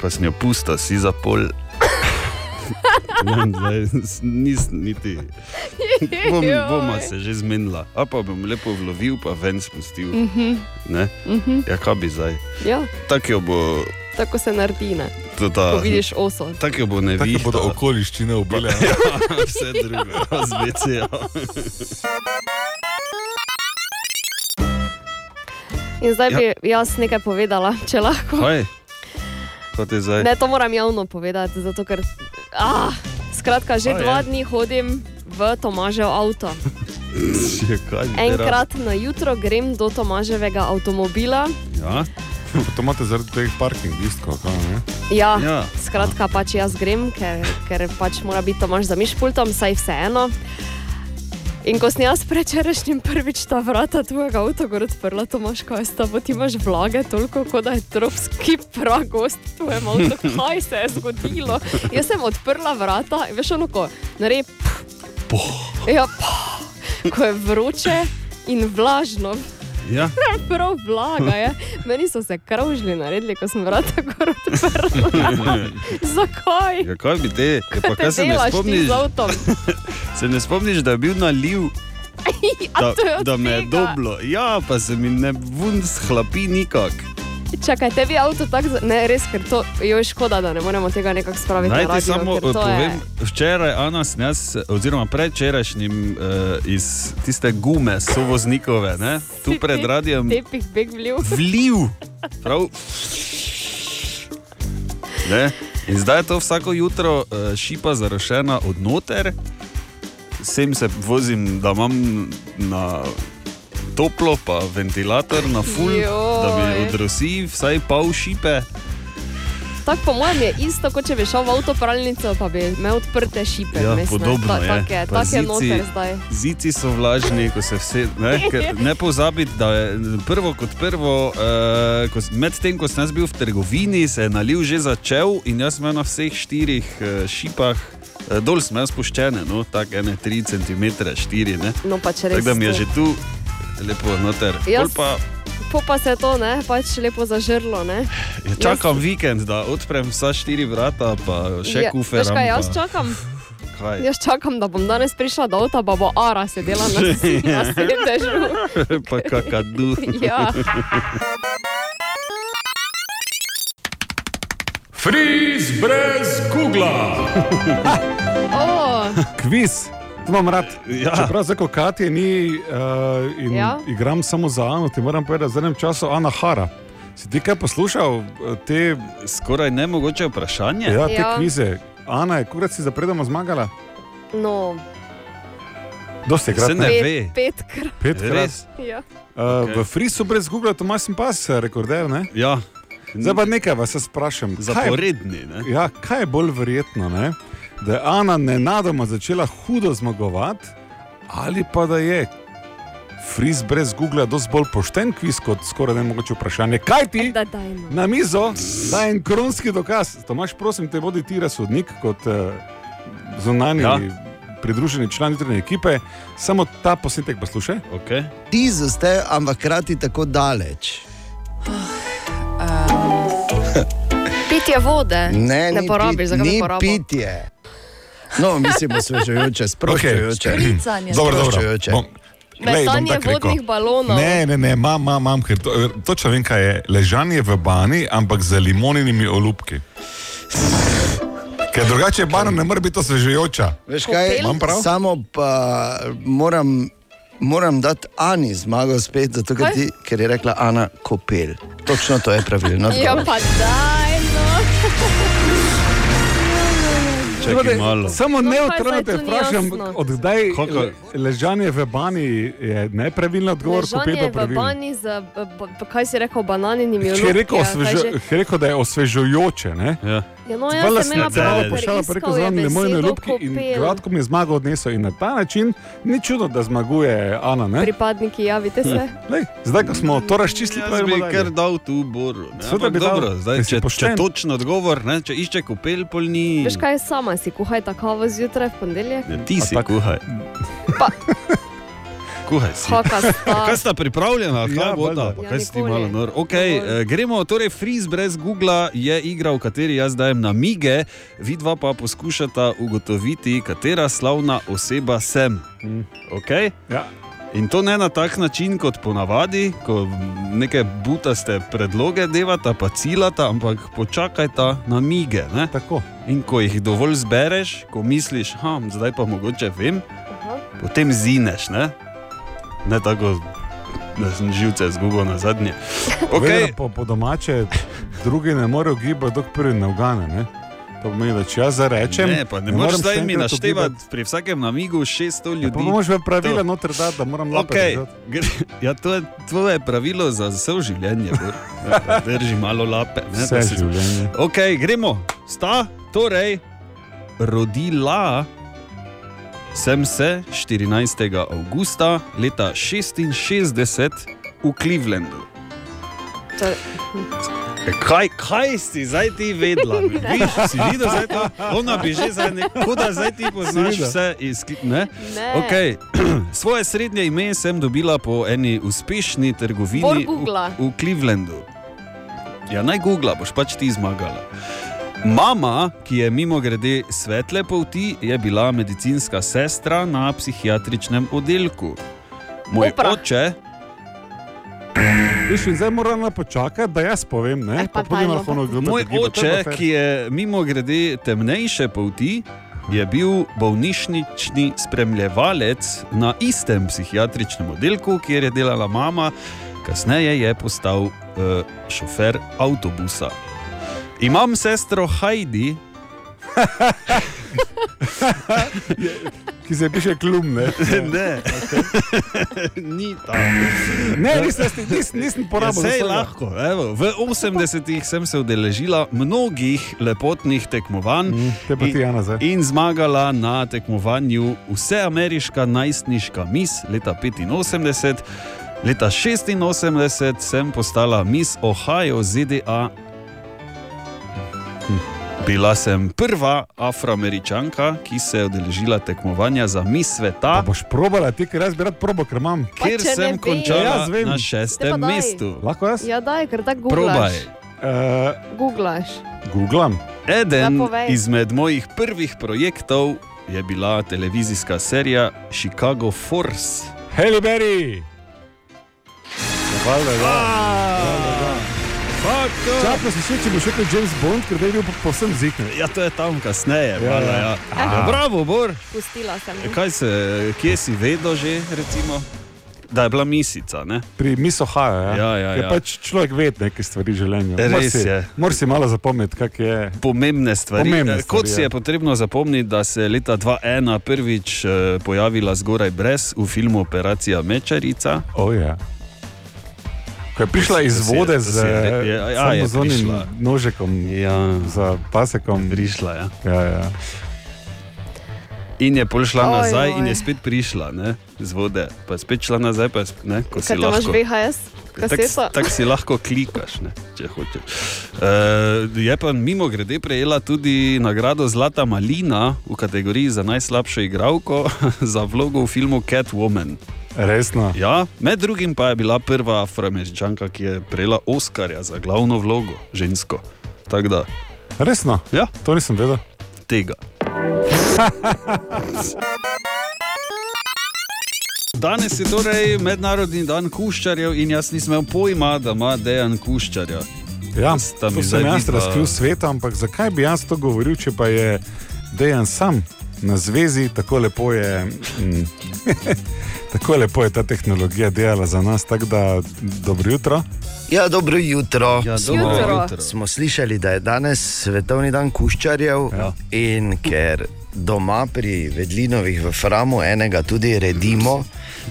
pa sem jo pusta, si za pol. <coughs> Ne vem, zdaj, nisem niti. Bom, boma se že zmenila, a pa bom lepo vlovil, pa ven spustil. Mhm, Ne? mhm. Ja, kaj bi zdaj? Ja, Tako jo bo. tako se naredi, ne? Tota, Ko vidiš oso. Tako jo bo ne videl. Tako bodo okoliščine ubile. <laughs> Ja, vse ja. drugo, razbecijo. In zdaj Ja. bi jaz nekaj povedala, če lahko. Kaj? Kot je zdaj? Ne, to moram javno povedati, zato ker. Ah, skratka, že Kaj je? dva dni hodim v Tomažev avto. Je, Ja, kaj, bi Enkrat na jutro grem do Tomaževega avtomobila. Ja. To imate zaradi teh parking listkov, kaj ne? Ja, Ja. ja. Skratka, pač jaz grem, ker, ker pač mora biti Tomaž za mišpultom, saj vseeno. In ko sem jaz prečerajšnjim prvič ta vrata tvojega avtogor odprla, Tomaž, kaj sta, bo ti imaš vlage toliko, kot da je tropski pragost tvojem avtu. Kaj se je zgodilo? Jaz sem odprla vrata in veš ono, ko naredi poh. Ja, poh, ko je vroče in vlažno. Ja. <laughs> Prav vlaga je. Meni so se kravžli naredili, ko sem vrata gor Ja. Zakaj? Ja, kaj bi te? Ja, pa Kaj kaj te se ne delaš ti spomniš? z avtom? Se ne spomniš, da je bil naliv, A da, to je od da me je tega? doblo. Ja, pa se mi ne vun shlapi nikak. Čakaj, tebi avto tako za... Ne, res, ker to je škoda, da ne moremo tega nekako spraviti. Naj na ti radio, samo ker to eh, povem, Je... včeraj, Ana, sem jaz, oziroma predvčerajšnjim eh, iz tiste gume, sovoznikove, ne? tu pred radijem, Tepih beg vliv. <laughs> vliv. Prav. Ne? In zdaj je to vsako jutro eh, šipa zarašena od noter, sem se vozim, da imam na toplo, pa ventilator na full, da mi Joj. odrosi vsaj pol šipe. Tako po mojem je isto, kot če bi šel v avtopralnico, pa bi imel odprte šipe. Ja, vmes, ne. podobno Ta, je. Tako je, Pa tak je zici- noter zdaj. Zici so vlažni, ko se vse. Ne, <laughs> ker ne pozabiti, da je prvo kot prvo, eh, ko s- medtem ko sem jaz bil v trgovini, se je naliv že začel in jaz sem imel na vseh štirih eh, šipah, eh, dol sem jaz spuščene, no, tako ene 3 cm, 4 ne. No, pač res. Tako da mi je to. že tu lepo noter. Jaz- Pol Pa, Po pa se je to, ne, pač lepo zažrlo, ne. ja, čakam vikend, da odprem vsa štiri vrata, pa še Ja, kufer. Veš kaj, jaz čakam. Kaj? Jaz čakam, da bom danes prišla do avta, pa bo Ara sedela na, <laughs> Ja, na sedežu. pa kakadu. <laughs> Ja. Friz brez Google. Oh. <laughs> Kviz, to imam rad. Ja. Čeprav za kokatje ni uh, in Ja. ja. igram samo za Ano, ti moram povedati, da zadnjem času Ana Hara. Si ti kaj poslušal eh, te skoraj nemogoče vprašanje? Ja, te Ja. ja. kvize. Ana je, kurat si zapredamo zmagala. No, Dosti krat. Se ne pet, ve. petkrat. Petkrat. Res? Ja. Uh, okay. V Frisu brez Google, to imaš pas, eh, rekorder. Ne? Ja. Zdaj pa nekaj vas jaz sprašujem. Zaporedni, ne? Kaj, ja, kaj je bolj verjetno, ne? da je Ana nenadoma začela hudo zmagovati, ali pa da je Fris brez Google dosti bolj pošten kviz kot skoraj nemogoče vprašanje. Kaj ti? Da, daj, no. Na mizo, da je en kronski dokaz. Tomaš, prosim, te vodi ti razsodnik kot uh, zunanji Ja. ja. pridruženi član jutranje ekipe. Samo ta posnetek poslušaj. Okay. Blizu ste, ampak hkrati tako daleč. Pitje vode. Ne, ne ni porabiš, pit- zakaj bi ni porabil? pitje. No, mislim, osvežujoče, sproščujoče. Okay. Špricanje. Dobro, dobro. Sproščujoče. Bom- Lej, bom Metanje tako rekel. vodnih balonov. Ne, ne, ne, imam, imam, imam, ker to, točno vem, kaj je. Ležanje v bani, ampak z limoninimi olupki. Ker drugače bana ne more biti osvežujoča. Veš kaj, Imam prav? samo pa moram, moram dati Ani zmago spet, zato, ker, Kaj? ti, ker je rekla Ana Kopel. Točno to je pravilno. Ja, pa daj, no. Čakaj, malo. Samo No, neutralno kaj zdaj te tu ni vprašam, jasno? odkdaj le, ležanje v bani je nepravilno odgovor, ko Ležanje pedo v pravilno. banji z, eh, b- b- kaj si rekel, bananinimi Če je rekel, olupki, ali kaj osvežu, že? če je rekel, da je osvežujoče, ne? Ja. Ja, no, Vrla jaz sem sem imela ja, naceljala, prav, pošala preko zunanje limojne ljubke in gladko mi je zmago odnesel. In na ta način ni čudo, da zmaguje Ana. Ne? Pripadniki, javite se. Lej, zdaj, ko smo to razčistili, Jaz pa bi gremo dalje. kar dal tu borbo. ne, Seveda ampak bi dal, dobro, zdaj, ker si če, če pošten. točen odgovor, ne, če išče kopel, pol ni. Veš kaj, sama si kuhajta kavo zjutraj v ponedeljek. Ne, ti si kuhaj. Kuhaj si. Haka sta. <laughs> Kaj sta pripravljena, kaj Ja, ja, bo valjda. ta? Ja, Kaj si ti nikoli. malo nor? Okay, eh, gremo, torej Freeze brez Google je igra, v kateri jaz dajem namige, vidva pa poskušata ugotoviti, katera slavna oseba sem. Mm. Okay? Ja. In to ne na tak način, kot ponavadi, ko neke butaste predloge devata, pa ciljata, ampak počakajta na mige. In ko jih dovolj zbereš, ko misliš, ha, zdaj pa mogoče vem, potem zineš. Ne, ne tako, da sem živce izgubil na zadnje. Okay. Okay. Po, po domače, drugi ne morejo gibati, dok prvi ne ugane. Ne? To pomeni, da če jaz zarečem, ne, pa ne e, morem moreš še zdaj mi enkrat naštevati ugibati. pri vsakem namigu 600 ljudi. Ja, pa moraš v pravila To- noter dati, da moram lape Okay. držati. gre- <laughs> Ja, to je tvoje pravilo za vse življenje. Bor. Ja, da Drži malo lape. Ne, Vse da se- življenje. Okay, gremo. Sta, torej, rodila sem se 14. avgusta leta 66 v Clevelandu. To- Kaj, kaj si zdaj ti vedela? Viš, si videl, zdaj to? Ona bi že zdaj neko, da zdaj ti poznaš Seveda. vse iz Cle- ne? Ne. Okay. <clears throat> Svoje srednje ime sem dobila po eni uspešni Bor trgovini v, Googla. v Clevelandu. Ja, naj Google, boš pač ti zmagala. Mama, ki je mimo grede svetle polti, je bila medicinska sestra na psihiatričnem oddelku. Moj Opra. oče, Viš, in zdaj moram le počakati, da jaz povem. Ne? Pa potem lahko no, ugibate. moj oče, ki je mimo grede temnejše polti, je bil bolnišnični spremljevalec na istem psihiatričnem oddelku, kjer je delala mama, kasneje je postal uh, šofer avtobusa. Imam sestro <laughs> Heidi, Ki se piše klum, ne? <laughs> <laughs> ne. Ni tam. Ne, nisem, nisem, nisem porabil. Vse je vsega. Ja, lahko. Evo, v 80-ih sem se udeležila mnogih lepotnih tekmovanj Mm, pa ti, eh. Ana, in, zdaj. in zmagala na tekmovanju Vseameriška najstniška mis leta 85. Leta 86 sem postala mis Ohio, ZDA. Hm. Bila sem prva afroameričanka, ki se je udeležila tekmovanja za mis sveta. Boš probala, ti, ker jaz bi rad probal, ker imam. Pa Ker če ne sem veš. končala Jaz vem. na Te pa šestem daj. mestu. Lahko jaz? Eh, Ja, daj, ker tako Probaj. googlaš. Googlaš. Googlam. Eden Ja, povej. izmed mojih prvih projektov je bila televizijska serija Chicago Force. Heli Berry! Hvala, Čakaj, si še, če boš rekel James Bond, ker da je bil pa povsem ziknjen. Ja, to je tam kasneje. ja. Ja, ja. Ja. Ja, Ah. bravo, Bor. Pustila sem. Kaj se, kje si vedel že, recimo? da je bila misica? Ne? Pri misohaju, ja. Ja, ja, je ja. pač človek ve neke stvari v življenju. Mora Res si- je. Mora si malo zapomniti, kak je. Pomembne stvari. Pomembne Eh, Kot stvari, si ja. je potrebno zapomniti, da se je leta 2001 prvič eh, pojavila zgoraj brez v filmu Operacija Mečarica. Oh, ja. Ko je prišla To si- iz to si vode je- z to si je re- je- ja, samo je z onim prišla. nožekom, ja. za pasekom. Prišla je. Ja. Ja, ja. In je pol šla Oj, nazaj, oj. in je spet prišla ne, z vode, pa je spet šla nazaj, pa je sp- ne, ko si Kaj te imaš lahko. VHS? Kaseto? Tako tak si lahko klikaš, ne, če hočeš. Uh, je pa mimo grede prejela tudi nagrado Zlata Malina v kategoriji za najslabšo igralko <laughs> za vlogo v filmu Catwoman. Resno. Ja, med drugim pa je bila prva afroameričanka, ki je prejela Oscarja za glavno vlogo, žensko. Tako da, Resno? Ja. To nisem vedel. Tega. Danes je torej mednarodni dan kuščarjev in jaz nisem imel pojma, da ima dejan kuščarja. Ja, Sta mi to zdaj sem jaz vidva- razkril svet, ampak zakaj bi jaz to govoril, če pa je dejan sam na zvezi, tako lepo je. Mm, <laughs> Tako lepo je ta tehnologija delala za nas, tako da dobro jutro. Ja, dobro jutro. Ja, dobro Jutro. jutro. Smo slišali, da je danes svetovni dan kuščarjev ja. in ker doma pri Vedlinovih v Framu enega tudi redimo,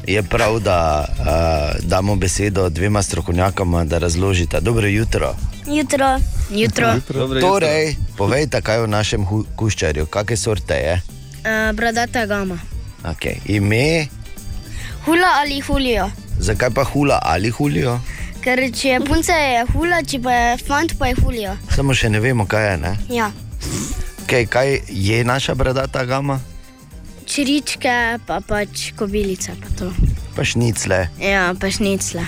je prav, da uh, damo besedo dvema strokovnjakama, da razložita. Dobro jutro. Jutro. Jutro. Torej, povejte, kaj je v našem hu- kuščarju, kakšne sorte je. Uh, bradata gama. Okay. Ime, Hula ali hulijo. zakaj pa hula ali hulijo? Ker če je punca, je hula, če pa je fant, pa je hulijo. Samo še ne vemo, kaj je. Ne? Ja. Kaj, kaj je naša bradata gama? Čiričke, pa pač kobilice. Pa to. Pa šnicle, ja, pa šnicle.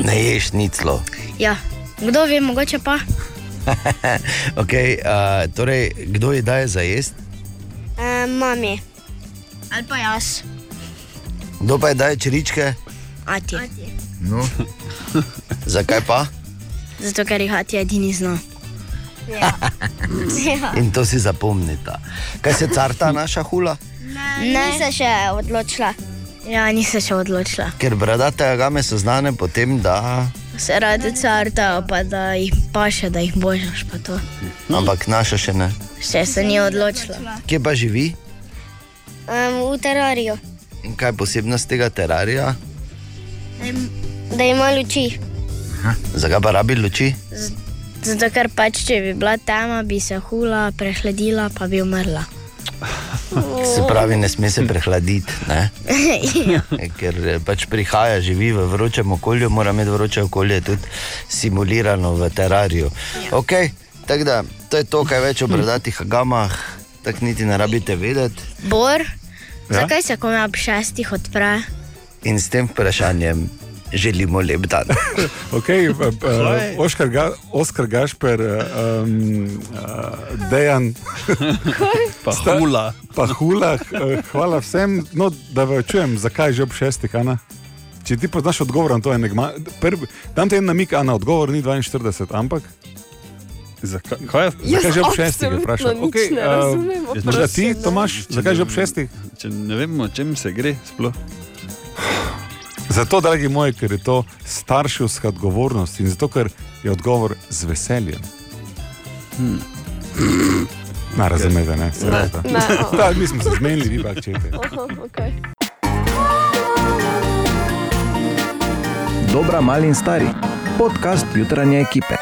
ne ješ šniclo. Ja. Kdo ve, mogoče pa? <laughs> okay, uh, torej, kdo ji daje za jesti? E, mami. Ali pa jaz. Kdo pa ji daje čričke? Ati. No. <laughs> Zakaj pa? Zato, ker jih ati edini zna. Ja. ja. In to si zapomnite. Kaj se carta naša hula? Ne, nisem še odločila. Ja, nisem še odločila. Ker bradate agame so znane po tem, da. Se rade carta, pa da jih paše, da jih božaš. pa to. Ampak naša še ne. Še se ni odločila. Kje pa živi? Um, v terariju, In kaj je posebnost tega terarija? da im- da ima luči. Zakaj pa rabi luči? Zato, ker pač, če bi bila tema, bi se hula, prehladila, pa bi umrla. <laughs> Se pravi, ne sme se prehladiti, ne? ja. <laughs> ker eh, pač prihaja, živi v vročem okolju, mora imeti vroče okolje tudi simulirano v terariju. Okay, tako da, to je to, kaj več o bradatih agamah, tako niti ne rabite vedeti. Bor, Ja? ja? zakaj se komaj ob šestih odpre? In s tem vprašanjem želimo lep dan. <laughs> Okay, eh, eh, Oškar Ga- Oskar Gašper, eh, um, eh, Dejan, Pa Sta- hula. Pa hula, eh, hvala vsem, no, da vas čujem, zakaj že ob šestih, Ana. Če ti poznaš odgovor, na to je enigma. Prvi, dam ti en namik, Ana, odgovor ni 42, ampak. Zakaj, kaj je, eh, Jaz zakaj že ob šestih? absolutno Vprašaj. nič ne razumem, morda oprosti, ti, ne. Tomaš, Če zakaj že ob ne- šestih? Če ne vemo, o čem se gre sploh. Zato, dragi moji, ker je to starševska odgovornost in zato, ker je odgovor z veseljem. Hmm. Na razumete, ne? Seveda. Ne, <laughs> o. Da, mi smo se zmenili, vi pa čete. Aha, okay. Dobra, mali in stari. Podcast jutranje ekipe.